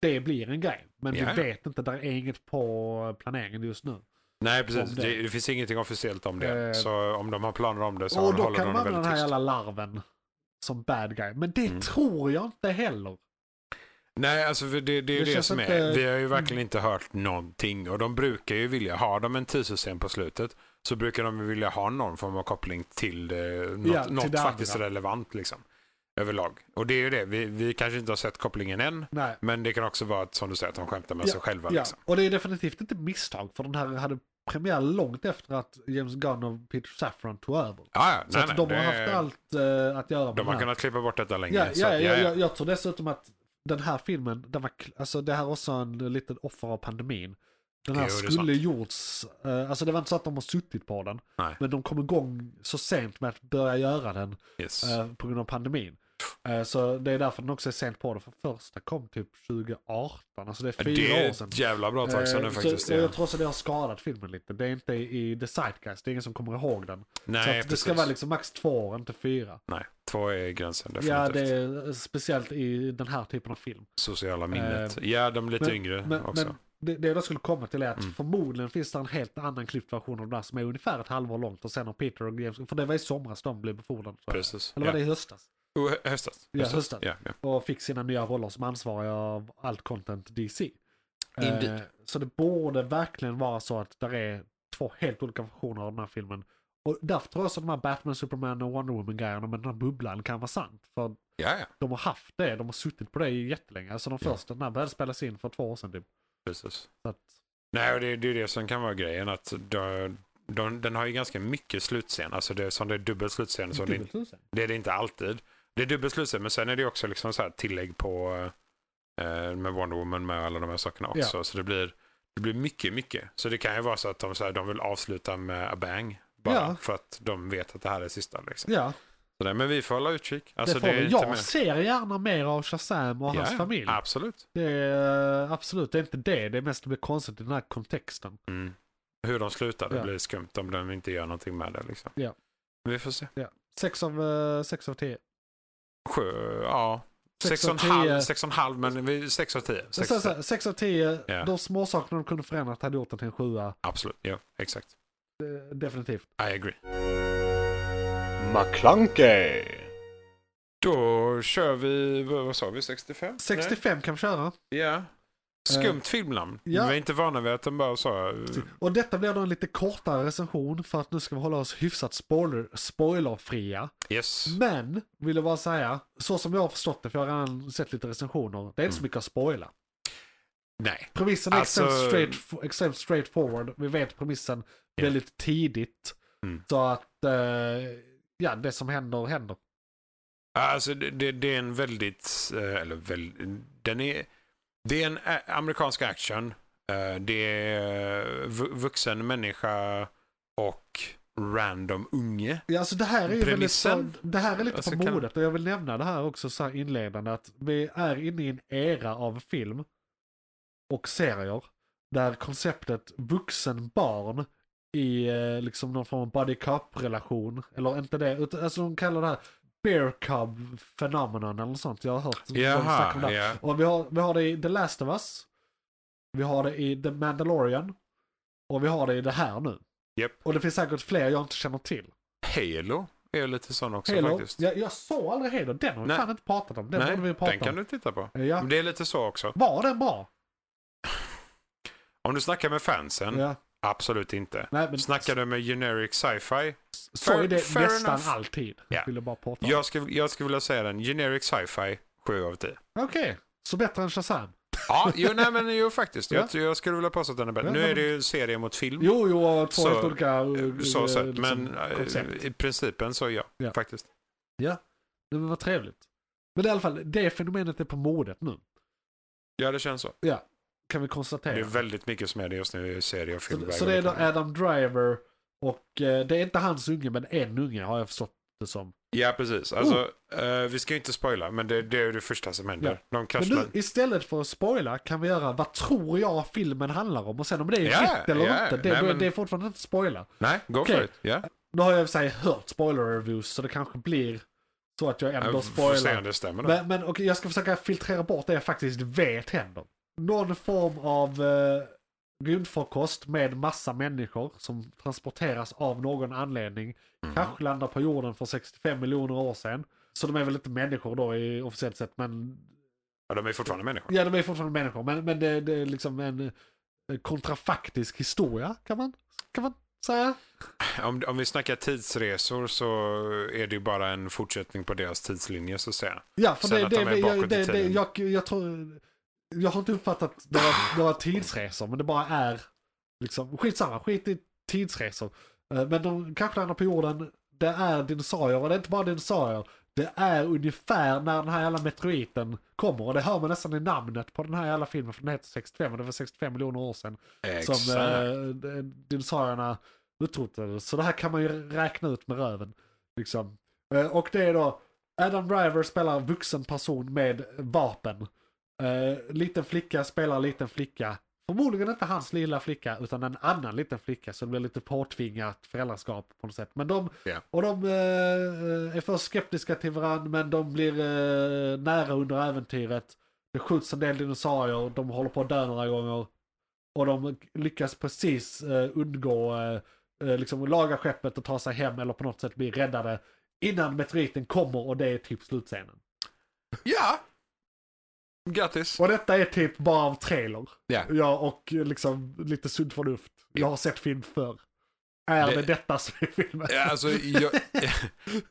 det blir en grej. Men Ja, ja. vi vet inte, där är inget på planeringen just nu. Nej, precis. om det. Det. Det, finns ingenting officiellt om det. Eh. så om de har planer om det så och då håller kan de man det använda den väldigt här tyst. jävla larven som bad guy. Men det Mm. tror jag inte heller. Nej, alltså för det, det är ju Det det, känns som inte- är. Vi har ju verkligen inte hört någonting och de brukar ju vilja, har de en tidssystem på slutet så brukar de ju vilja ha någon form av koppling till det, något, Ja, till något det faktiskt andra. relevant liksom. Överlag. Och det är ju det, vi, vi kanske inte har sett kopplingen än, Nej. men det kan också vara att, som du säger, att de skämtar med sig själva. Ja, Liksom. och det är definitivt inte misstag för den här hade premiär långt efter att James Gunn och Peter Safran tog över. Ja, ja, Så nej, att nej, de det har är- haft allt eh, att göra med De den har här. kunnat klippa bort detta länge. Ja, så ja, att- ja, Jag, jag tror dessutom att den här filmen, den var, kl- alltså det här är också en liten offer av pandemin. Den här Jo, det är skulle gjorts, eh, alltså det var inte så att de har suttit på den, Nej. men de kom igång så sent med att börja göra den Yes. eh, på grund av pandemin. Eh, så det är därför den också är sent på den, för första kom typ 2018, alltså det är fyra det är år sedan. ett jävla bra tag sedan nu Eh, faktiskt. så, och ja. jag tror också det har skadat filmen lite. Det är inte i The Zeitgeist, det är ingen som kommer ihåg den. så Nej, att det ska precis. vara liksom max två år, inte fyra. Nej, två är gränsen Ja, definitivt. det är eh, speciellt i den här typen av film. Sociala minnet. ja, de är lite men- yngre Men, också. men det, det jag skulle komma till är att Mm. förmodligen finns det en helt annan klippt version av den här som är ungefär ett halvår långt och sen har Peter och James, för det var i somras de blev befordrade. tror jag. Precis. Eller ja. var det i höstas? Oh, hö- höstas. Ja, höstas. Ja, ja. Och fick sina nya roller som ansvariga av allt content DC. Indeed. Eh, så det borde verkligen vara så att där är två helt olika versioner av den här filmen. Och därför tror jag också att de här Batman, Superman och Wonder Woman-grejerna med den här bubblan kan vara sant. För ja, ja. de har haft det, de har suttit på det jättelänge. Alltså de Ja. första, den här började spelas in för två år sedan typ. Precis. Så att, Nej, och det, det är det som kan vara grejen. att de, de, Den har ju ganska mycket slutscen. Alltså det, som det är dubbel slutscen. Så det, dubbelt tusen. det är det inte alltid. Det är dubbel slutscen, men sen är det också liksom så här tillägg på eh, med Wonder Woman med alla de här sakerna också. Så det blir, det blir mycket, mycket. Så det kan ju vara så att de, så här, de vill avsluta med a bang. Bara Ja. för att de vet att det här är sista. Liksom. Ja, Så där, men vi får hålla utkik. Alltså, det får det är vi. inte Jag mer- ser gärna mer av Shazam och hans Ja, familj. Absolut. Det är, eh, absolut, det är inte det. Det är mest att det blir konstigt i den här kontexten. Mm. Hur de slutar, det Ja. blir skumt om de inte gör någonting med det. Liksom. Ja. Men vi får se. sex av, eh, sex av tio Sjö, ja. Sex sex av och en halv- tio. sex och en halv, men vi, sex av tio. Så, Sex så, av tio. så, sex av tio Ja. de småsakerna de kunde förändrat hade gjort den till en sjua. Absolut, ja. Exakt. eh, Definitivt. I agree. McClunkey, Då kör vi, vad vad sa vi, 65? 65 kan vi köra. Nej. Ja. Skumt filmnamn. Eh, ja. Typ. Vi är inte vana vid att de bara sa... eh, Och detta blir då en lite kortare recension för att nu ska vi hålla oss hyfsat spoiler, spoilerfria. Yes. Men, vill jag bara säga, så som jag har förstått det, för jag har redan sett lite recensioner, det är Mm. inte så mycket att spoila. Nej. Premissen är Alltså- extremt, straight, extremt straightforward. Vi vet premissen Ja. väldigt tidigt. Mm. Så att, eh, ja, det som händer, händer. Alltså det, det, det är en väldigt, eh, eller väl, den är, det är en ä- amerikansk action. Eh, Det är vu- vuxen människa och random unge. Ja, alltså det här är ju väldigt, Premissen? så- det här är lite Alltså, på kan- modet och jag vill nämna det här också så här inledande att vi är inne i en era av film och serier där konceptet vuxen-barn i eh, liksom någon form av buddy cup-relation, eller inte det, utan alltså de kallar det här bear cub phenomenon eller något sånt. Jag har hört dem snacka om det här. Jaha, ja. Och vi har, vi har det i The Last of Us. Vi har det i The Mandalorian. Och vi har det i det här nu. Japp. Och det finns säkert fler jag inte känner till. Halo är ju lite sån också Halo, faktiskt. jag, jag såg aldrig Halo. Den har vi Nej. fan inte pratat om. Den Nej, borde vi den prata kan om. du titta på. Ja. Men det är lite så också. Var den bra? Om du snackar med fansen, Ja. absolut inte. Nej, men Snackar du med generic sci-fi? så är det fair nästan enough. alltid. Ja. Vill jag bara prata om. Jag skulle, jag skulle vilja säga den, generic sci-fi, 7 av 10. Okej, så bättre än Shazam. Ja, jo, nej, men, jo faktiskt. Jag, jag skulle vilja påstå att den är bättre. Ja, Nu men- är det ju serie mot film. Jo, jo, och två Så- helt olika eh, så eh, sett, liksom, men eh, koncept. i principen så ja, Ja. faktiskt. Det var trevligt. Men i alla fall, det fenomenet är på modet nu. Ja, det känns så. Kan vi konstatera. Det är väldigt mycket som är det just nu i serier och Så, filmväg. så och det är då liknande. Adam Driver och eh, det är inte hans unge men en unge har jag förstått det som. Ja, precis. oh. Alltså, eh, vi ska ju inte spoila, men det, det är ju det första som händer. De Men kastar... nu istället för att spoila kan vi göra vad tror jag filmen handlar om och sen om det är Ja, rätt eller ja, inte. Det, nej, då- men- det är fortfarande inte spoila. Nej, go Okej. for it. Ja. Nu har jag i och för sig hört spoiler reviews så det kanske blir så att jag ändå Jag får se om spoilar. det stämmer. Då. Men, men okej, jag ska försöka filtrera bort det jag faktiskt vet händer. Någon form av eh, rymdfarkost med massa människor som Mm. transporteras av någon anledning. Kanske landar på jorden för 65 miljoner år sedan. Så de är väl inte människor då i officiellt sett, men Ja, de är fortfarande människor. ja, de är fortfarande människor. Men, men det, det är liksom en eh, kontrafaktisk historia, kan man, kan man säga. Om, om vi snackar tidsresor så är det ju bara en fortsättning på deras tidslinje så att säga. Ja, för Sen det, att det, de är det, jag, bakåt det, i det tiden. jag, jag tror... Jag har inte uppfattat några, några tidsresor, men det bara är liksom, skitsamma, skit i tidsresor. Eh, Men de kanske landar på jorden, det är dinosaurier, och det är inte bara dinosaurier. Det är ungefär när den här jävla meteoriten kommer, och det hör man nästan i namnet på den här jävla filmen, för den heter 65, och det var 65 miljoner år sedan som eh, d- dinosaurierna utrotades. Så det här kan man ju räkna ut med röven. Liksom. Eh, och det är då Adam Driver spelar en vuxen person med vapen. Eh, liten flicka spelar liten flicka. Förmodligen inte hans lilla flicka utan en annan liten flicka så det blir lite påtvingat föräldraskap på något sätt. Men de, Ja. och de eh, är först skeptiska till varandra men de blir eh, nära under äventyret. Det skjuts en del dinosaurier, de håller på att dö några gånger. Och de lyckas precis eh, undgå, eh, eh, liksom laga skeppet och ta sig hem eller på något sätt bli räddade innan meteoriten kommer och det är typ slutscenen. Ja! Grattis! Och detta är typ bara av trailer. Ja. Ja, och eh, liksom lite sunt förnuft. Jag har sett film förr. Är det, Det- detta som är filmen? Ja, Alltså, jag,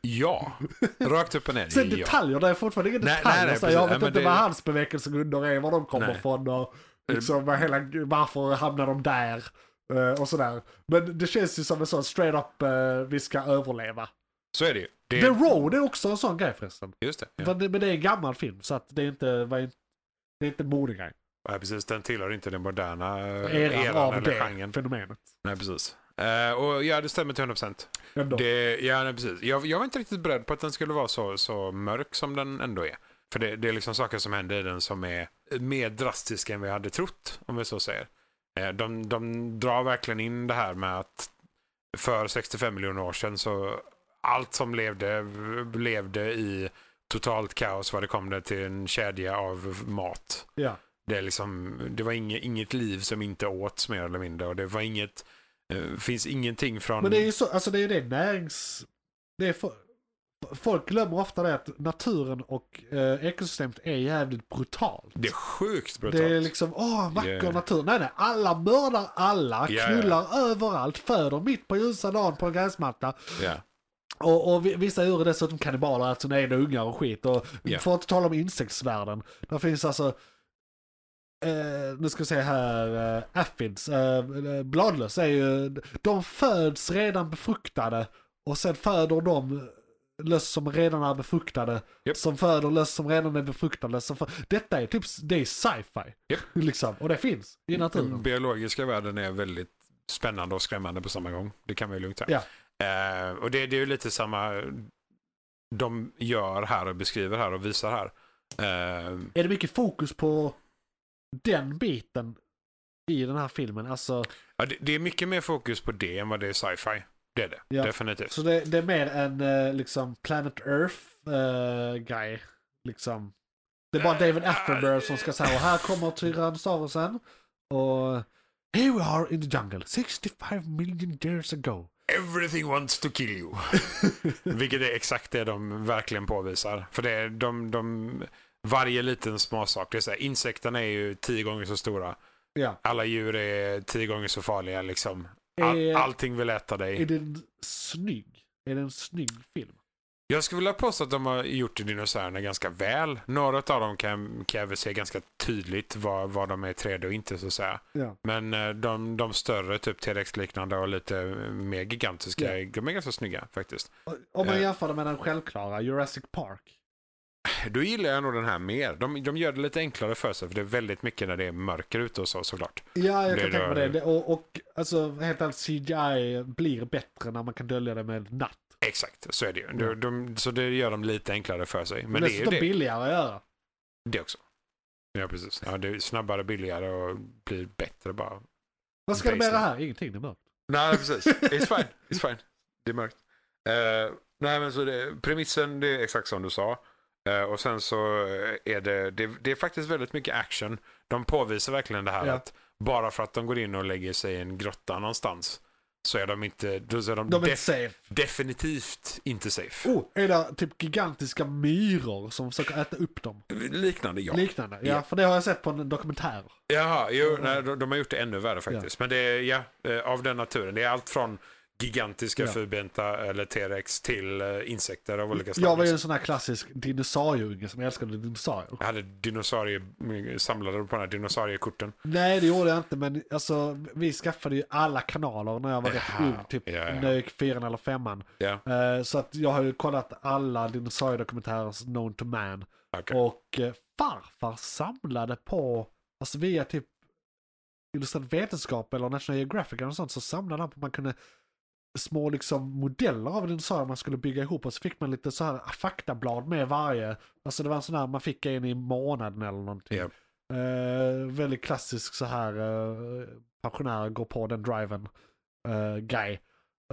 ja. Rakt upp och ner. Sen Ja. detaljer, det är fortfarande inga Nej, detaljer. nej, nej, så jag precis. vet Nej, men inte det- vad hans bevekelsegrunder är, var de kommer Nej. ifrån och liksom, vad hela, varför hamnar de där? eh, Och sådär. Men det känns ju som en sån straight up, eh, vi ska överleva. Så är det ju. Det The är, Road är också en sån grej förresten. just det. Ja. Men, det, men det är en gammal film, så att det är inte, var inte- det är inte en modig grej. Ja, precis. Den tillhör inte den moderna eh, Eran, av eller det genren. fenomenet. Nej, precis. Eh, och ja, det stämmer till 100%. Ändå. Det, ja, nej, precis. Jag, jag var inte riktigt beredd på att den skulle vara så, så mörk som den ändå är. För det, det är liksom saker som händer i den som är mer drastiska än vi hade trott, om vi så säger. Eh, De, de drar verkligen in det här med att för 65 miljoner år sedan så allt som levde levde i totalt kaos vad det kom det till en kedja av mat. Ja. Det, är liksom, det var inget, inget liv som inte åts mer eller mindre. Och det var inget, eh, finns ingenting från... Men det är ju så, alltså det är ju det närings... Det är fo- Folk glömmer ofta det att naturen och eh, ekosystemet är jävligt brutalt. Det är sjukt brutalt. Det är liksom, åh vacker Yeah. natur. Nej nej, alla mördar alla, Ja, ja. knullar överallt, föder mitt på ljusa dagen på en gräsmatta. Ja. Och, och vi- vissa djur är dessutom kannibaler, alltså när det är ungar och skit. Och Ja. För att inte tala om insektsvärlden. Där finns alltså, eh, nu ska vi se här, eh, aphids, eh, bladlöss är ju, de föds redan befruktade och sen föder de löss som redan är befruktade. Japp. Som föder löss som redan är befruktade. Som för... Detta är typ, det är sci-fi. Japp. Mm, Liksom. Och det finns i naturen. Den biologiska världen är väldigt spännande och skrämmande på samma gång. Det kan vi lugnt säga. Eh, och det, det är ju lite samma de gör här och beskriver här och visar här. Eh, Är det mycket fokus på den biten i den här filmen? Alltså, ja, det, det är mycket mer fokus på det än vad det är sci-fi. Det är det, Ja. definitivt. så det, det är mer en eh, liksom Planet Earth-guy. liksom. Det är bara David Attenborough som ska säga och här kommer tyrannosaurusen. Och here we are in the jungle 65 million years ago. Everything wants to kill you. Vilket är exakt det de verkligen påvisar. För det är de, de, varje liten småsak. Det är så här, insekterna är ju tio gånger så stora. Ja. Alla djur är tio gånger så farliga. Liksom. Är- All, allting vill äta Är dig. den snygg? Är det en snygg film? Jag skulle vilja påstå att de har gjort dinosaurierna ganska väl. Några av dem kan, kan jag väl se ganska tydligt vad, vad de är i 3D och inte så att säga. Ja. Men eh, de, de större, typ T-Rex-liknande och lite eh, mer gigantiska, de är ganska snygga faktiskt. Om man Eh. jämför det med den självklara Jurassic Park. Då gillar jag nog den här mer. De, de gör det lite enklare för sig för det är väldigt mycket när det är mörker ute och så såklart. Ja, jag Det kan tänka mig rör- det. det. Och, och alltså, helt ärligt, CGI blir bättre när man kan dölja det med natt. Exakt, så är det ju. De, de, så det gör de lite enklare för sig. Men Men det är ju Dessutom det, billigare att göra. det också. Ja, precis. Ja, det är snabbare, billigare och blir bättre bara. Vad ska det med det Basically. här? Ingenting, det är mörkt. Nej, precis. It's fine. It's fine. Det är mörkt. Eh, nej, men så det, premissen det är exakt som du sa. Eh, och sen så är det, det, det är faktiskt väldigt mycket action. De påvisar verkligen det här Ja. att bara för att de går in och lägger sig i en grotta någonstans så är de, inte, då är de, De är def- inte safe. definitivt inte safe. Oh, är det typ gigantiska myror som försöker äta upp dem? Liknande ja. Liknande. Ja, Ja. för det har jag sett på en dokumentär. Jaha, jo, nej, de, de har gjort det ännu värre faktiskt. Men det är ja, eh, av den naturen. Det är allt från gigantiska Ja. fyrbenta eller T-rex till eh, insekter av olika slag. Jag var ju liksom. en sån här klassisk dinosaurieunge som älskade dinosaurier. Jag hade dinosaurier, samlade på de här dinosauriekorten. Nej, det gjorde jag inte, men alltså, vi skaffade ju alla kanaler när jag var rätt Jaha, ung, typ ja, ja. när jag gick fyran eller femman. Ja, Eh, Så att jag har ju kollat alla dinosauriedokumentärer known to man. okej. Och eh, farfar samlade på, alltså via typ Illustrerad Vetenskap eller National Geographic eller något sånt, så samlade han på man kunde små liksom modeller av dinosaurier man skulle bygga ihop och så fick man lite så här faktablad med varje. Alltså det var en sån här man fick en i månaden eller någonting. Ja. Eh, väldigt klassisk så här eh, pensionärer går på den driven eh, guy. Eh,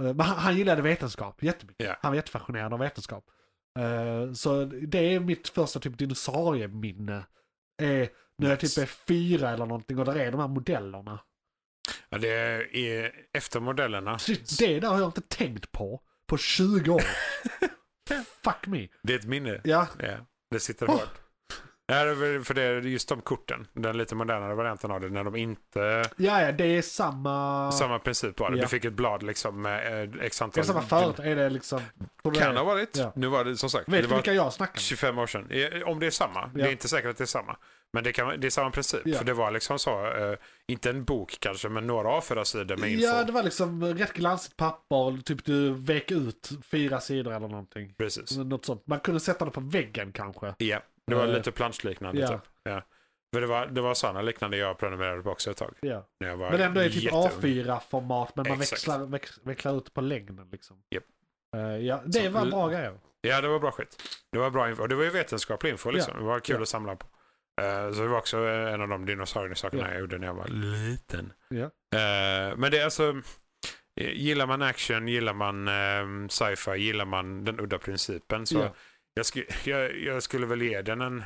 men han, han gillade vetenskap jättemycket. Ja. Han var jättefascinerad av vetenskap. Eh, så det är mitt första typ dinosaurieminne. Är när jag typ är fyra eller någonting och där är de här modellerna. Ja, det är efter modellerna. Shit, det där har jag inte tänkt på på 20 år. Fuck me. Det är ett minne. Ja, Ja, det sitter Oh. hårt. Ja, det är väl- för det är just de korten, den lite modernare varianten av det, när de inte... ja, ja det är samma... Samma princip var det. Ja. Du fick ett blad liksom med eh, x det är antal... samma företag. Är det liksom... tror du Kan det- ha varit. Ja. Nu var det som sagt. Vet det du var vilka jag snackar med? 25 år sedan. Eh, Om det är samma. Det Mm. Ja. är inte säkert att det är samma. Men det, kan, det är samma princip. Ja. För det var liksom så, eh, inte en bok kanske, men några A4 sidor med info. Ja, det var liksom rätt glansigt papper. Typ du vek ut fyra sidor eller någonting. Precis. Något sånt. Man kunde sätta det på väggen kanske. Ja, det var Eh, lite planschliknande ja. typ. Ja. Men det var, det var sådana liknande jag prenumererade på också ett tag. Ja. När jag var Men ändå är det typ jätteung. A4-format men man Exakt. växlar, väx, växlar ut på längden liksom. Japp. Eh, ja, det Så- var bra grejer. Ja, det var bra skit. Det var bra info. Det var ju vetenskaplig info liksom. Det var kul Ja. att samla på. Eh, så det var också en av de dinosauriesakerna Ja. jag gjorde när jag var liten. Ja. Eh, men det är alltså, eh, gillar man action, gillar man eh, sci-fi, gillar man den udda principen så Ja. jag, sku, jag, jag skulle väl ge den en...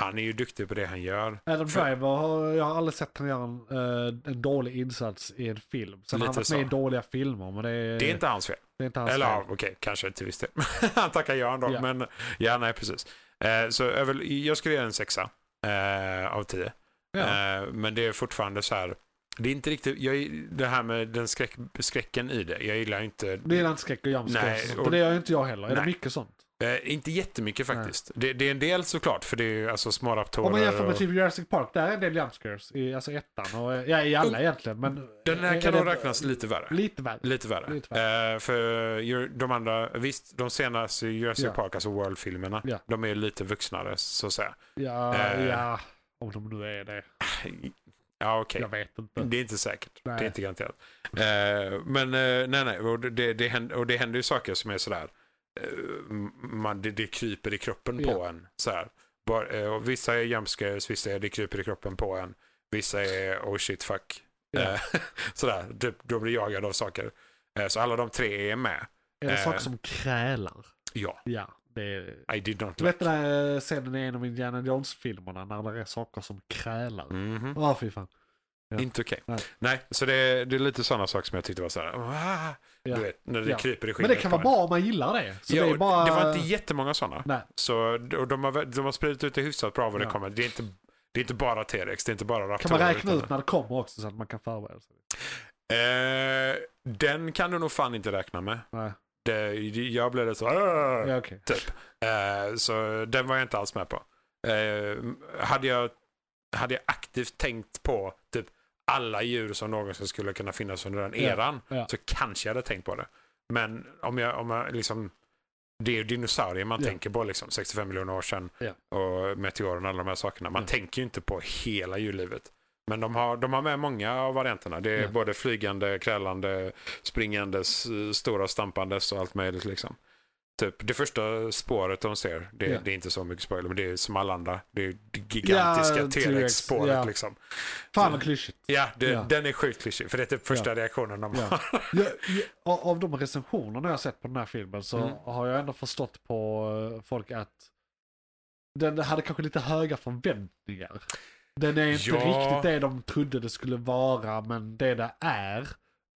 Han är ju duktig på det han gör. Adam För- Driver, har, jag har aldrig sett han göra en, eh, en dålig insats i en film. Sen har han Lite varit med i så. dåliga filmer, men det är, Det är inte hans fel. det är inte Eh, hans Eller ja, fel. okej, kanske till viss del. Han tackar ja ändå, Ja. men ja, nej precis. Eh, så över, jag skulle ge en sexa eh, av tio. Ja. Eh, men det är fortfarande så här. Det är inte riktigt, jag, det här med den skräck, skräcken i det. Jag gillar inte, Det gillar inte skräck och Nej, jumpscares. Och... och- Det gör ju inte jag heller. Är det Nej. mycket sånt? eh, inte jättemycket faktiskt. Det, det är en del såklart, för det är ju alltså små raptorer. Om man jämför med och- typ Jurassic Park, där är en del jumpscares. I, alltså ettan och ja, i alla Oh. egentligen. Men Den här är- kan är nog det- räknas lite värre. Lite väl. Lite värre. Lite Eh, för ju- de andra, visst, de senaste Jurassic Ja. Park, alltså World-filmerna, Ja. de är lite vuxnare så att säga. Ja, Eh. ja. Om de nu är det. Ja, okej. Jag vet inte. Det är inte säkert. Mm. Nej. Det är inte garanterat. Eh, men eh, nej, nej. Och det, det, händer, och det händer ju saker som är sådär. eh, man, det, det kryper i kroppen på Ja. en. Sådär. Bara, eh, och vissa är jumpscares, vissa är det kryper i kroppen på en. Vissa är oh shit fuck. Ja. Eh, sådär, typ, då blir jag jagad av saker. Eh, så alla de tre är med. Är det eh. saker som krälar? Ja, Ja, det är... I did not Du vet den där scenen i en av Indiana Jones-filmerna när det är saker som krälar? Ja, Mhm. fy fan. Ja. Inte okej. Nej. Nej, så det, det är lite sådana saker som jag tyckte var sådär. "Ah", Ja. Du vet, när det Ja. kryper i skinnet Men det kan på vara en. bra om man gillar det. Så ja, det och är bara... det var inte jättemånga sådana. Nej. Så och de, har, vä- de har spridit ut det hyfsat bra vad det Ja. kommer. Det är, inte, det är inte bara T-rex, det är inte bara Kan raptorer. man räkna utan- ut när det kommer också så att man kan förbereda sig? Eh, den kan du nog fan inte räkna med. Nej, Det, jag blev lite så... "Åh!" ja, okej. Eh, så den var jag inte alls med på. Eh, hade, jag, hade jag aktivt tänkt på typ alla djur som någonsin skulle kunna finnas under den Ja, eran ja. så kanske jag hade tänkt på det. Men om jag, om jag liksom... Det är ju dinosaurier man Ja. tänker på liksom, 65 miljoner år sedan. Ja. Och meteoren och alla de här sakerna. Man Ja. tänker ju inte på hela djurlivet. Men de har, de har med många av varianterna. Det är Ja. både flygande, krälande, springandes, eh, stora stampandes och allt möjligt liksom. Typ det första spåret de ser, det, Ja. det är inte så mycket spoiler, men det är som alla andra. Det är det gigantiska Ja, T-rex, T-rex-spåret ja. liksom. Fan vad klyschigt. Ja, det, Ja. den är sjukt klyschig, för det är typ första reaktionen de Ja. har. Ja, ja, av av de recensionerna jag har sett på den här filmen så Mm. har jag ändå förstått på eh, folk att den hade kanske lite höga förväntningar. Den är inte Ja. riktigt det de trodde det skulle vara, men det det är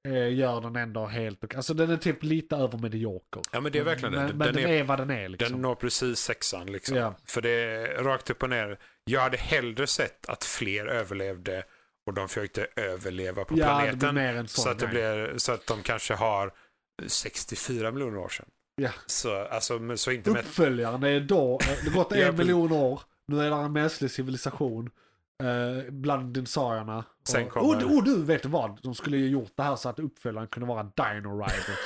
eh, gör den ändå helt... Alltså den är typ lite över medioker. Ja, men det är verkligen det. Men, men Den den, är- är, vad den är liksom. Den når precis sexan liksom. Ja. För det är rakt upp och ner. Jag hade hellre sett att fler överlevde och de försökte överleva på Ja, det blir planeten. mer en sån så, att det grej. blir, så att de kanske har 64 miljoner år sedan. Ja. Så, alltså, men, så inte med... Uppföljaren är då, eh, det har gått Ja, en precis. miljon år, nu är det en mänsklig civilisation eh, bland dinosaurierna. Och- Sen Och, kommer- och du, vet du vad? De skulle ju gjort det här så att uppföljaren kunde vara Dino Riders.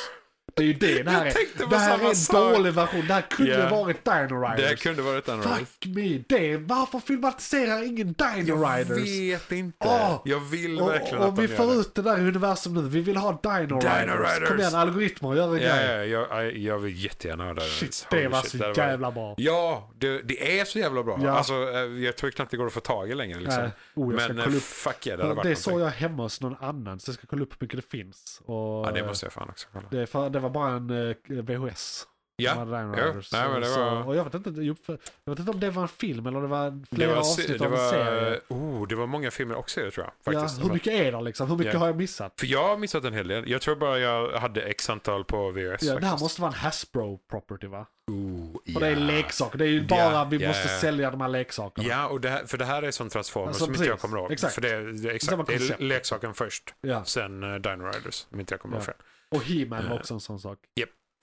Det är ju det det här Jag tänkte är. på Det här samma är en sak. dålig version, det här kunde Ja. varit Dino Riders. Det kunde varit en Fuck me, det, varför filmatiserar ingen Dino Jag Riders? vet inte. Åh! Jag vill verkligen Och, att och vi de får gör det. ut det där i universum nu, vi vill ha Dino, Riders. Riders. Kom igen, algoritmer, gör en Ja, grej. ja, jag, jag vill jättegärna höra det. Shit, Holy det var shit, så det hade varit- jävla bra. Ja, det, det är så jävla bra. Ja. Alltså, eh, jag tror knappt det går att få tag i längre. Liksom. Nej. Oh, jag ska Men eh, kolla upp. fuck yeah, det Det, hade varit någonting. såg jag hemma hos någon annan, så jag ska kolla upp hur mycket det finns. Och, Ja, det måste jag fan också kolla. det, är för, det var bara en eh, VHS. som Ja, hade Dino jo. Riders. Nej, men det Så- var- och jag, vet inte, det är ju för- jag vet inte om det var en film eller det var det flera var, se- avsnitt det, av en var, serie. oh, det var många filmer och serier tror jag. Ja, Faktiskt. hur mycket är det liksom? Hur mycket Ja. har jag missat? För jag har missat en hel del. Jag tror bara jag hade x antal på VHS. Ja, det här faktiskt. måste vara en Hasbro property va? Oh, För det är ja. leksaker, det är ju Ja, bara vi ja, måste ja. sälja de här leksakerna. Ja, och det här, för det här är som Transformers Alltså, som inte precis. jag kommer ihåg. Exakt. För det, är- det, är Samma exakt, det är koncept. leksaken först, Ja. sen uh, Dino Riders, om inte jag kommer ihåg Ja. fel. Och He-Man var också en sån sak.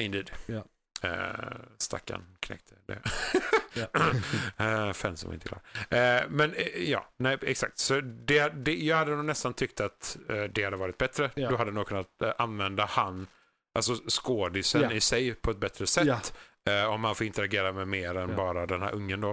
Indeed. Ja. Eh, stackarn knäckte det. Ja. Eh, Fan som inte klar. Eh, men eh, ja, nej, exakt. Så det, det, jag hade nog nästan tyckt att eh, det hade varit bättre. Ja. Du hade nog kunnat eh, använda han, alltså skådisen Ja. i sig på ett bättre sätt. Eh, om han får interagera med mer än Ja. bara den här ungen då.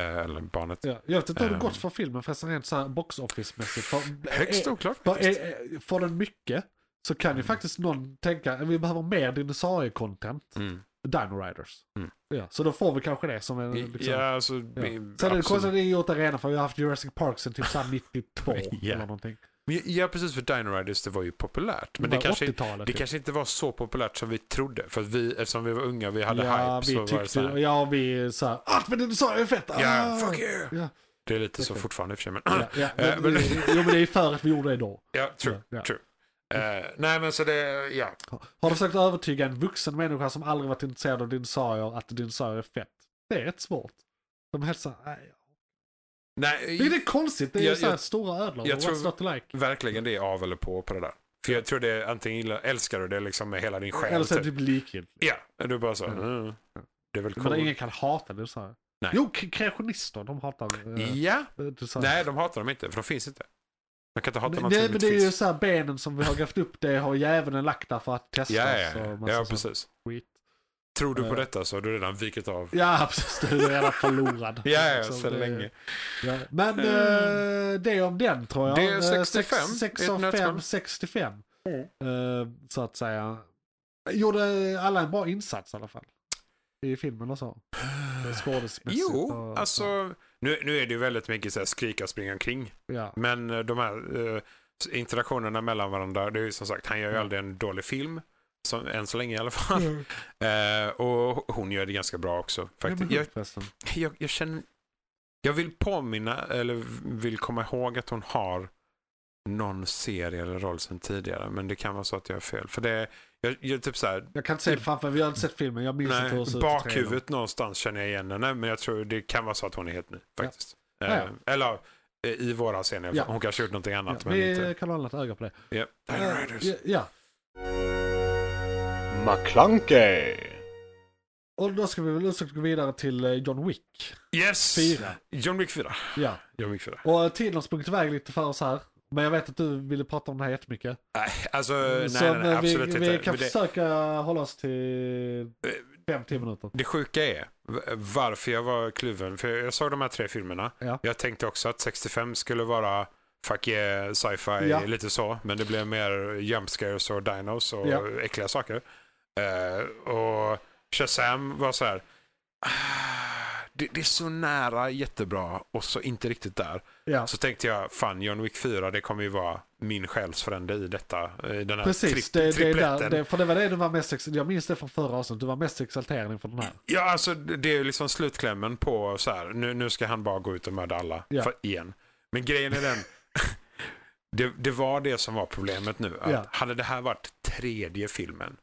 Eh, eller barnet. Ja. Jag vet inte hur det Ehm. gått för filmen förresten rent såhär box office-mässigt. För- Högst oklart För, faktiskt. är- är- får den mycket så kan ju faktiskt någon tänka att vi behöver mer dinosaurie-content. Mm. Dino Riders. Mm. Ja, så då får vi kanske det som en... Liksom, Ja, alltså, ja. vi- Sen är det absolut. konstigt att det är gjort arena för vi har haft Jurassic Park sen typ såhär 92 Ja. eller någonting. Men Ja, precis. För Dino Riders, det var ju populärt. Men det var kanske, 80-talet. Det typ. kanske inte var så populärt som vi trodde. För att vi, eftersom vi var unga vi hade ja, hype vi så var det tyckte, så här, Ja, vi såhär att men dinosaurier är fett! Ja, ah!" fuck you! Ja. Det är lite så Exakt. fortfarande i och för sig. Men, Ja, ja, men, Eh, men- eh, jo men det är för att vi gjorde det då. ja, true. Ja, ja. true. Eh, nej, men så det, ja. Har du försökt övertyga en vuxen människa som aldrig varit intresserad av dinosaurier att dinosaurier är fett? Det är rätt svårt. De är helt såhär, "Nej, Nej, Det är det konstigt, det är Jag- ju så här jag- stora ödlor. jag What's tror- not to like? verkligen det är av eller på på det där. För jag tror det är antingen gillar, älskar du det liksom med hela din själ. Eller så är det typ. typ likgiltigt. Ja, du är bara så. Ja. Mm. Det är väl Men coolt. ingen kan hata det så här. Nej. Jo, k- kreationister, de hatar... eh, Ja, det så här. nej de hatar dem inte för de finns inte. Man kan inte hata Men- någonting nej, som men inte det är ju finns. så här benen som vi har grävt upp, det har djävulen lagt där för att testas. Ja, ja, och ja. massa ja, sånt precis. skit. Tror du på Eh. detta så har du redan vikit av. Ja, precis. Du är redan förlorad. Ja, ja, Liksom, så det- länge. Ja. Men eh, det är om den tror jag. Det är Eh, sex- 65, sex i av ett nötskal. fem, 65. Eh, så att säga. Gjorde alla en bra insats i alla fall? I filmen och så. Skådesmässigt. Eh, Jo, och, alltså nu, nu är det ju väldigt mycket så här skrika, springa omkring. Ja. Men eh, de här eh, interaktionerna mellan varandra, det är ju som sagt, han gör ju Mm. aldrig en dålig film. Som, än så länge i alla fall. Eh, och hon gör det ganska bra också. Faktiskt. Jag, Förresten. jag, jag känner... Jag vill påminna, eller vill komma ihåg att hon har någon serie eller roll sedan tidigare. Men det kan vara så att jag har fel. För det är, jag, jag, typ så här, Jag kan inte se det framför vi har inte sett filmen. Jag minns inte hur det typ ser Nej, ut. i trailern. bakhuvudet någonstans känner jag igen henne, men jag tror det kan vara så att hon är helt ny faktiskt. Ja, ja. Eh, Eller eh, i våra scener. Ja. Hon kanske gjort någonting annat, Ja, men vi inte. kan hålla ett öga på det. Ja. Dino Riders. Eh, Ja, McClunkey, och då ska vi väl också gå vidare till eh, John Wick. Yes! Fyra. John Wick 4. Ja. John Wick 4. Och tiden har sprungit iväg lite för oss här. Men jag vet att du ville prata om det här jättemycket. Nej, alltså, nej, Mm, så nej, nej, men absolut vi, inte. vi kan Men det, försöka hålla oss till Eh, 5-10 minuter. det sjuka är v- varför jag var kluven. För jag såg de här tre filmerna. Ja. Jag tänkte också att 65 skulle vara fuck yeah, sci-fi, Ja. lite så. Men det blev mer jump scares och dinos och Ja. äckliga saker. Eh, och Shazam var så här. "Ah, Det, det är så nära jättebra och så inte riktigt där. Ja. Så tänkte jag, fan John Wick 4, det kommer ju vara min själsfrände i detta. I den här Precis, tri- det, det, är där, tripletten. det, för det var det du var mest exalterad Jag minns det från förra avsnittet, du var mest exalterad inför den här. Ja, alltså det är ju liksom slutklämmen på så här, nu, nu ska han bara gå ut och mörda alla Ja. för, igen. Men grejen är den, Det, det var det som var problemet nu. Att Ja. Hade det här varit tredje filmen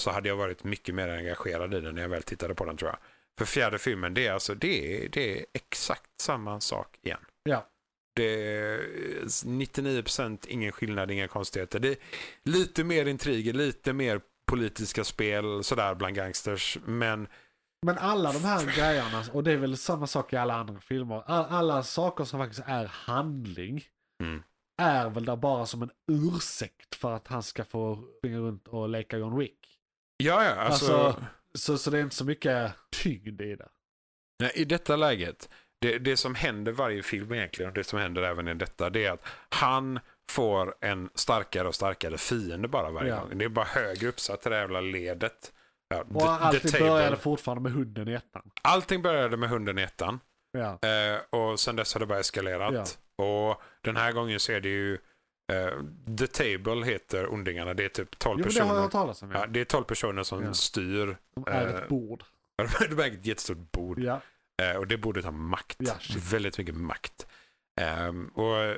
så hade jag varit mycket mer engagerad i den när jag väl tittade på den tror jag. För fjärde filmen, det är alltså det är, det är exakt samma sak igen. Ja. Det är 99% ingen skillnad, inga konstigheter. Det är lite mer intriger, lite mer politiska spel sådär bland gangsters. Men Men alla de här grejerna, och det är väl samma sak i alla andra filmer. All, alla saker som faktiskt är handling Mm. är väl där bara som en ursäkt för att han ska få springa runt och leka John Wick. ja, ja, alltså... Alltså- Så, så det är inte så mycket tyngd i det. Nej, I detta läget, det, det som händer varje film egentligen, och det som händer även i detta, det är att han får en starkare och starkare fiende bara varje Ja. gång. Det är bara högre uppsatt det där jävla ledet. Ja, Och the- the alltid table. började fortfarande med hunden i ettan. Allting började med hunden i ettan. Ja. Eh, och sen dess har det bara eskalerat. Och den här gången så är det ju eh, The Table heter ondingarna. Det är typ 12 Jo, men det personer. har jag hört talas om. ja, Ja. det är 12 personer som Ja. styr. De är eh, ett bord. De äger ett jättestort bord. Ja. Eh, Och det borde ta makt. Ja, shit. Väldigt mycket makt. Ehm, och eh,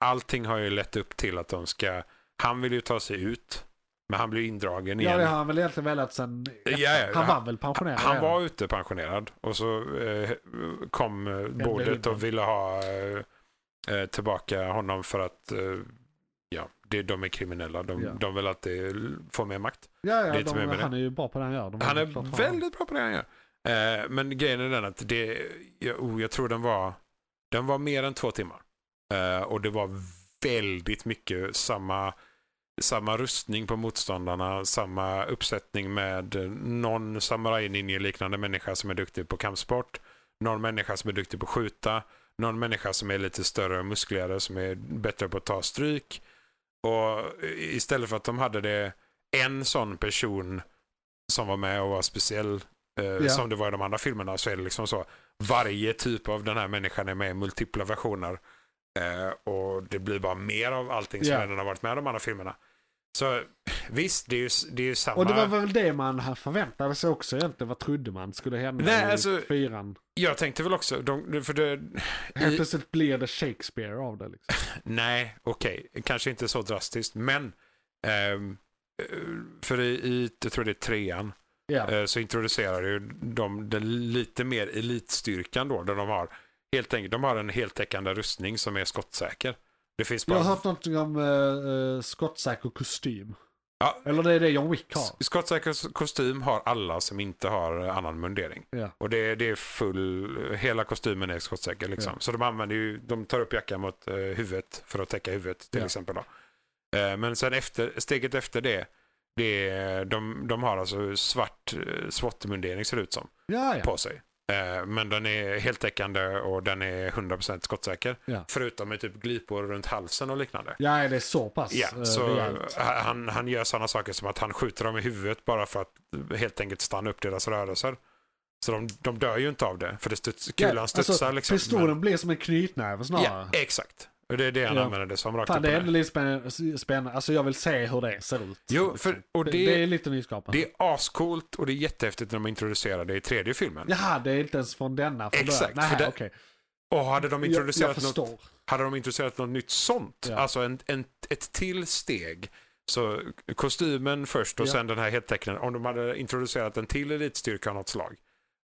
allting har ju lett upp till att de ska... Han vill ju ta sig ut, men han blir indragen ja, igen. det har han väl egentligen velat sen... Ja, ja, han han- var väl pensionerad? Han redan? var ute pensionerad och så eh, kom eh, bordet Lincoln. och ville ha eh, eh, tillbaka honom för att eh, ja, det, de är kriminella. De, Ja. de vill alltid få mer makt. ja, det ja, är inte mer de, med det. han är ju bra på det han gör. De har Han ju är klart för honom. väldigt bra på det han gör. Eh, men grejen är den att det, jag, oh, jag tror den var, den var mer än två timmar. Eh, och det var väldigt mycket samma, samma rustning på motståndarna, samma uppsättning med eh, någon samurajninje liknande människa som är duktig på kampsport, någon människa som är duktig på att skjuta, någon människa som är lite större och muskligare som är bättre på att ta stryk. Och i- istället för att de hade det en sån person som var med och var speciell eh, som det var i de andra filmerna så är det liksom så. Varje typ av den här människan är med i multipla versioner. Eh, och det blir bara mer av allting som Ja. redan har varit med i de andra filmerna. Så visst, det är ju, s- det är ju samma. Och det var väl det man förväntade sig också egentligen. Vad trodde man skulle hända Nej, i alltså- fyran? Jag tänkte väl också, de, för det, Helt i- plötsligt blir det Shakespeare av det. Liksom. Nej, okej. Kanske inte så drastiskt, men ehm, eh, för i, i, jag tror det är trean, Ja. eh, så introducerar ju de den lite mer elitstyrkan då, där de har helt enkelt, de har en heltäckande rustning som är skottsäker. Det finns Jag bara... har hört någonting om eh, eh, skottsäker kostym. Ja. Eller det är det John Wick har. S- Skottsäker kostym har alla som inte har eh, annan mundering. Ja. Och det, är- det är full, eh, hela kostymen är skottsäker liksom. Så de använder ju, de tar upp jackan mot eh, huvudet för att täcka huvudet till Ja. exempel. Då. Eh, men sen efter, steget efter det, det är, de, de har alltså hur svart eh, SWAT-mundering ser det ut som Ja, ja. på sig. Eh, men den är heltäckande och den är 100% skottsäker. Ja. Förutom med typ glipor runt halsen och liknande. Ja, det är så pass eh, Ja, så rejält. han, han gör sådana saker som att han skjuter dem i huvudet bara för att helt enkelt stanna upp deras rörelser. Så de, de dör ju inte av det, för det studs, kulan Ja, alltså, studsar liksom. Pistolen men- blir som en knytnäve snarare. ja, exakt. Och det är det han Ja. använder det som. Rakt Fan, upp och det är ner. ändå lite spänn- spännande. Alltså jag vill se hur det ser ut. Liksom. Jo, för- och det, det- det är lite nyskapande. det är ascoolt och det är jättehäftigt när de introducerar det i tredje filmen. Jaha, det är inte ens från denna. Från Exakt, början. för Nej, det- okej. Och hade de Jag, jag introducerat något förstår. Hade de introducerat något nytt sånt, Ja. alltså en, en, ett till steg, så kostymen först och Ja. sen den här heltäckningen, om de hade introducerat en till elitstyrka av något slag,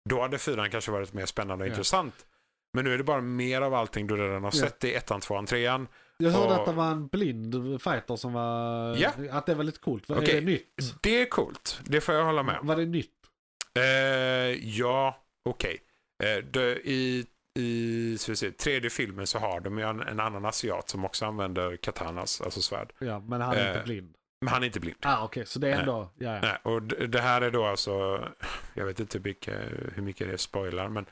då hade fyran kanske varit mer spännande och Ja. intressant. Men nu är det bara mer av allting du redan har Ja. Mm. sett i ettan, tvåan, trean. Jag hörde Och- att det var en blind fighter som var... Ja. Att det var lite coolt. Var Okej. Är det nytt? Det är coolt, det får jag hålla med om. Var det nytt? Eh, ja, okej. Eh, det- I i så vi ser, tredje filmen så har de ju en, en annan asiat som också använder katanas, alltså svärd. Ja, men han är Eh. inte blind. Men han är inte blind. Ah, okej, så det är Nej. ändå... Ja, ja. Nej, och d- det här är då alltså, jag vet inte vilka, hur mycket det spoilar, men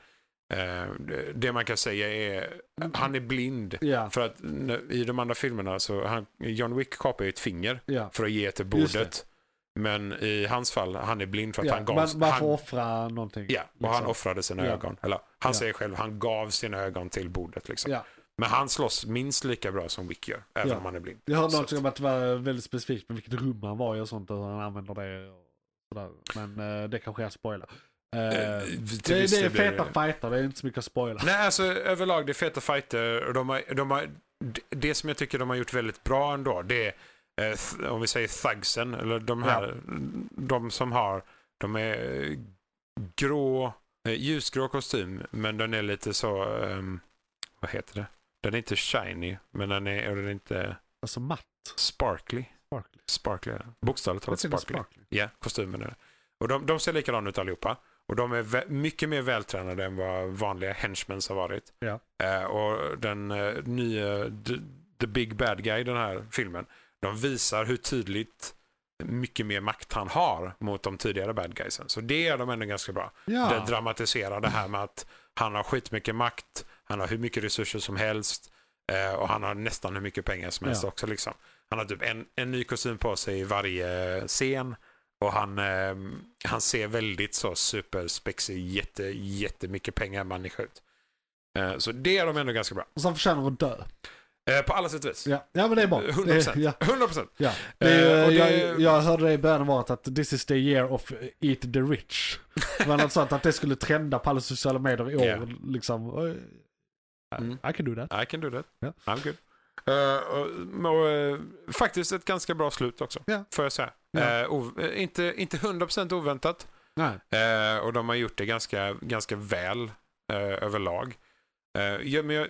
eh, det- det man kan säga är, han är blind. ja. För att n- i de andra filmerna så, han, John Wick kapar ju ett finger ja. för att ge till Just det. bordet. Men i hans fall, han är blind för att ja. han gav... man, man får han, offra någonting. ja, och han liksom. offrade sina Ja. ögon. Eller han Ja. säger själv, han gav sina ögon till bordet liksom. Ja. Men han slåss minst lika bra som Wick gör, även Ja. om han är blind. Jag hörde Så någonting att- om att det var väldigt specifikt med vilket rum han var i och sånt och hur han använder det. Och sådär. Men eh, det kanske är att spoila. Eh, Eh, till det, viss det är del blir feta fighter, det är inte så mycket att spoila. Nej, alltså överlag det är feta fighter och de har, de har, d- det som jag tycker de har gjort väldigt bra ändå, det är eh, th- om vi säger thugsen, eller de här, de som har, de är eh, grå, eh, ljusgrå kostym, men den är lite så, ehm, vad heter det? Den är inte shiny, men den är, och den är inte Alltså matt. sparkly. Sparkly. Sparkly, ja. bokstavligt Jag talat tycker sparkly. Ja, kostymen är det. Och de, de ser likadana ut allihopa. Och de är vä- mycket mer vältränade än vad vanliga henchmans har varit. Ja. Eh, och den eh, nya the, the Big Bad Guy i den här filmen, de visar hur tydligt mycket mer makt han har mot de tidigare bad guysen. Så det är de ändå ganska bra. Ja. Det dramatiserar det här med att han har skitmycket makt, han har hur mycket resurser som helst eh, och han har nästan hur mycket pengar som helst Ja. också. Liksom. Han har typ en, en ny kostym på sig i varje scen och han, eh, han ser väldigt så superspexig, jätte, jättemycket pengar människa ut. Eh, så det är de ändå ganska bra. Och som förtjänar att dö. Eh, på alla sätt och vis. Ja, ja men det är bra. 100%. Det, ja, 100%. ja. Det är, Eh, och ju- det- Jag, jag hörde det i början av året att this is the year of eat the rich. Det var något sånt att det skulle trenda på alla sociala medier i år. Ja. Liksom. Och- Mm. I can do that. I can do that. Ja. I'm good. Eh, och, och, eh, faktiskt ett ganska bra slut också, Ja. får jag säga. Ja. Eh, ov- eh, inte, inte 100% oväntat, Nej. Eh, och de har gjort det ganska, ganska väl eh, överlag. Eh, ja, men jag,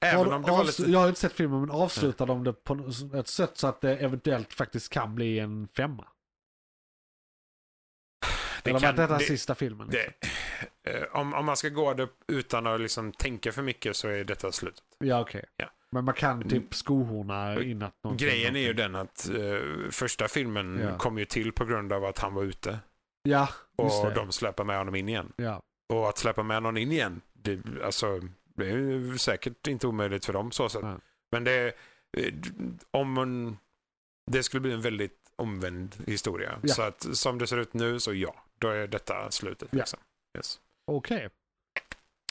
även Har- om det var avslu- lite... Jag har inte sett filmen men avslutar de det på något- ett sätt så att det eventuellt faktiskt kan bli en femma? Det Eller kan- var detta det- sista filmen? det, Liksom? eh, om, om man ska gå det utan att liksom tänka för mycket så är detta slutet. Ja okej. Ja. Men man kan Mm. typ skohorna in att någonting... Grejen är ju någonting. den att eh, första filmen Ja. kom ju till på grund av att han var ute. Ja, just Och det. de släpper med honom in igen. Ja. Och att släppa med någon in igen, det, alltså, det är ju säkert inte omöjligt för dem. Så sett. Nej. Men det, är- eh, d- om man, det skulle bli en väldigt omvänd historia. Ja. Så att som det ser ut nu så ja, då är detta slutet. Ja. Liksom. Yes. Okej.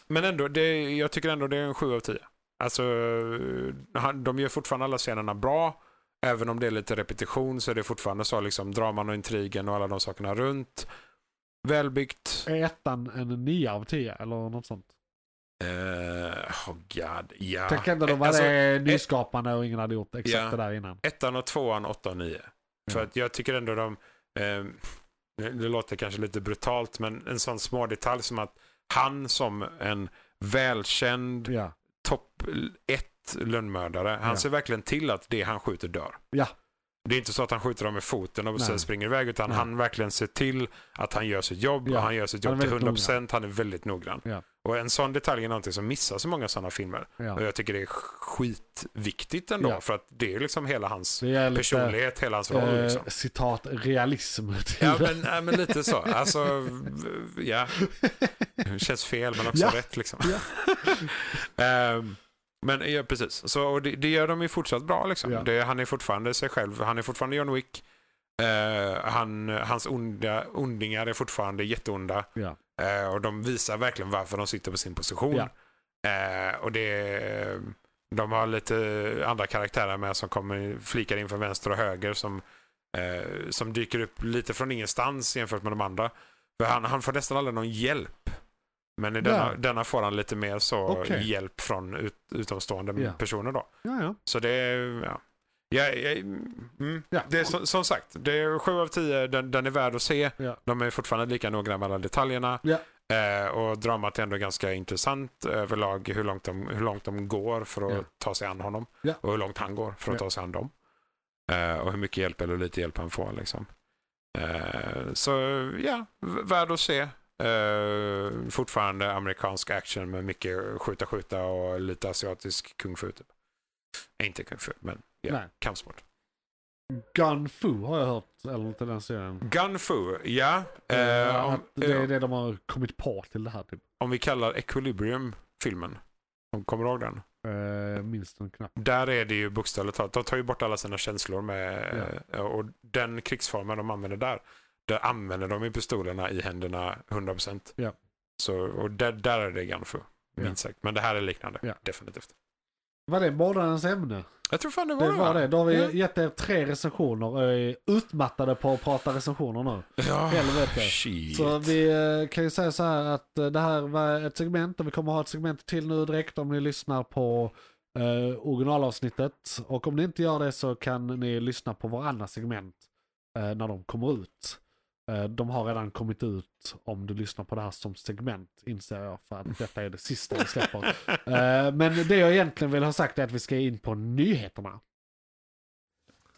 Men ändå, det, jag tycker ändå det är en 7 av 10. Alltså, eh, han- de gör fortfarande alla scenerna bra. Även om det är lite repetition så är det fortfarande så liksom draman och intrigen och alla de sakerna runt. Välbyggt. Är ettan en 9 av 10 eller något sånt? Eh, oh god, ja. Tänk ändå då vad Alltså, det är nyskapande och ingen hade gjort exakt Ja. det där innan. Ettan och tvåan, åtta och nio. För Ja. att jag tycker ändå de, eh, det det låter kanske lite brutalt, men en sån små detalj som att han som en välkänd Ja. topp ett lönnmördare, han Ja. ser verkligen till att det han skjuter dör. Ja. Det är inte så att han skjuter dem med foten och Nej. sen springer iväg, utan Nej. han verkligen ser till att han gör sitt jobb. Ja. Och han gör sitt Han är jobb till väldigt 100 procent. Han är väldigt noggrann. Ja. Och en sån detalj är någonting som missas i många sådana filmer. Och ja. jag tycker det är skitviktigt ändå. Ja. För att det är liksom hela hans Det är lite, personlighet, hela hans roll. eh, Liksom. citat, realism till Ja, det. men, ja, men lite så. Alltså, v- ja. Det känns fel men också Ja. rätt liksom. Ehm, men ja, precis. Så, och det, det gör de ju fortsatt bra liksom. Ja. Det, han är fortfarande sig själv. Han är fortfarande John Wick. Eh, han, hans onda, ondingar är fortfarande jätteonda. Ja. Eh, och de visar verkligen varför de sitter på sin position. Ja. Eh, och det, de har lite eh, andra karaktärer med som kommer flikar in från vänster och höger som, eh, som dyker upp lite från ingenstans jämfört med de andra. För han, han får nästan aldrig någon hjälp. Men i denna, Ja. denna får han lite mer så Okej. hjälp från ut, utomstående Ja. personer personer. då. Ja, ja. Så det är, ja. Jag, jag, mm. Ja. det är som, som sagt, det är 7 av 10, den, den är värd att se. Ja. De är fortfarande lika noggranna med alla detaljerna. Ja. Eh, och dramat är ändå ganska intressant överlag hur långt de, hur långt de går för att Ja. ta sig an honom. Ja. Och hur långt han går för att Ja. ta sig an dem. Eh, och hur mycket hjälp eller lite hjälp han får. Liksom. Eh, så ja, v- värd att se. Eh, fortfarande amerikansk action med mycket skjuta-skjuta och lite asiatisk kung-fu. Typ. Eh, Inte kung-fu, men ja, Nej. kampsport. Gun Fu har jag hört, eller något i den serien. Gun-fu, ja. Eh, Eh, om, att det är eh, det de har kommit på till det här typ. om vi kallar Equilibrium-filmen. Om- Kommer du ihåg den? Eh, minst en knapp. Där är det ju bokstavligt talat. De tar ju bort alla sina känslor med eh, och den krigsformen de använder där. Där använder de ju pistolerna i händerna 100%. Ja. Så, och där, där är det Ganfu, Ja. minst sagt. Men det här är liknande, Ja. definitivt. Var det månadens ämne? Jag tror fan det var Det var va? det. Då har Ja. vi gett er tre recensioner och är utmattade på att prata recensioner nu. Ja, Helvete. shit. Så vi eh, kan ju säga så här att eh, det här var ett segment och vi kommer ha ett segment till nu direkt om ni lyssnar på eh, eh, originalavsnittet. Och om ni inte gör det så kan ni lyssna på varandra segment eh, när de kommer ut. Eh, de har redan kommit ut om du lyssnar på det här som segment inser jag för att detta är det sista vi släpper. Eh, men det jag egentligen vill ha sagt är att vi ska in på nyheterna.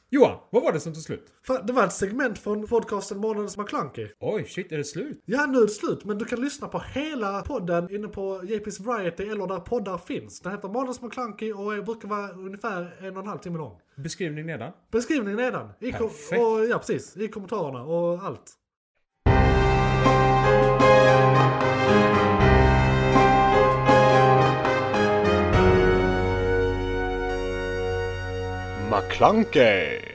Johan, vad var det som tog slut? Fan, det var ett segment från podcasten Månadens McKlunky. Oj, shit, är det slut? Ja, nu är det slut, men du kan lyssna på hela podden inne på JP's Variety eller där poddar finns. Den heter Månadens McKlunky och är- brukar vara ungefär en och en halv timme lång. Beskrivning nedan. Beskrivningen nedan. I kom- Perfekt. och, ja, precis. I kommentarerna och allt. McClunkey!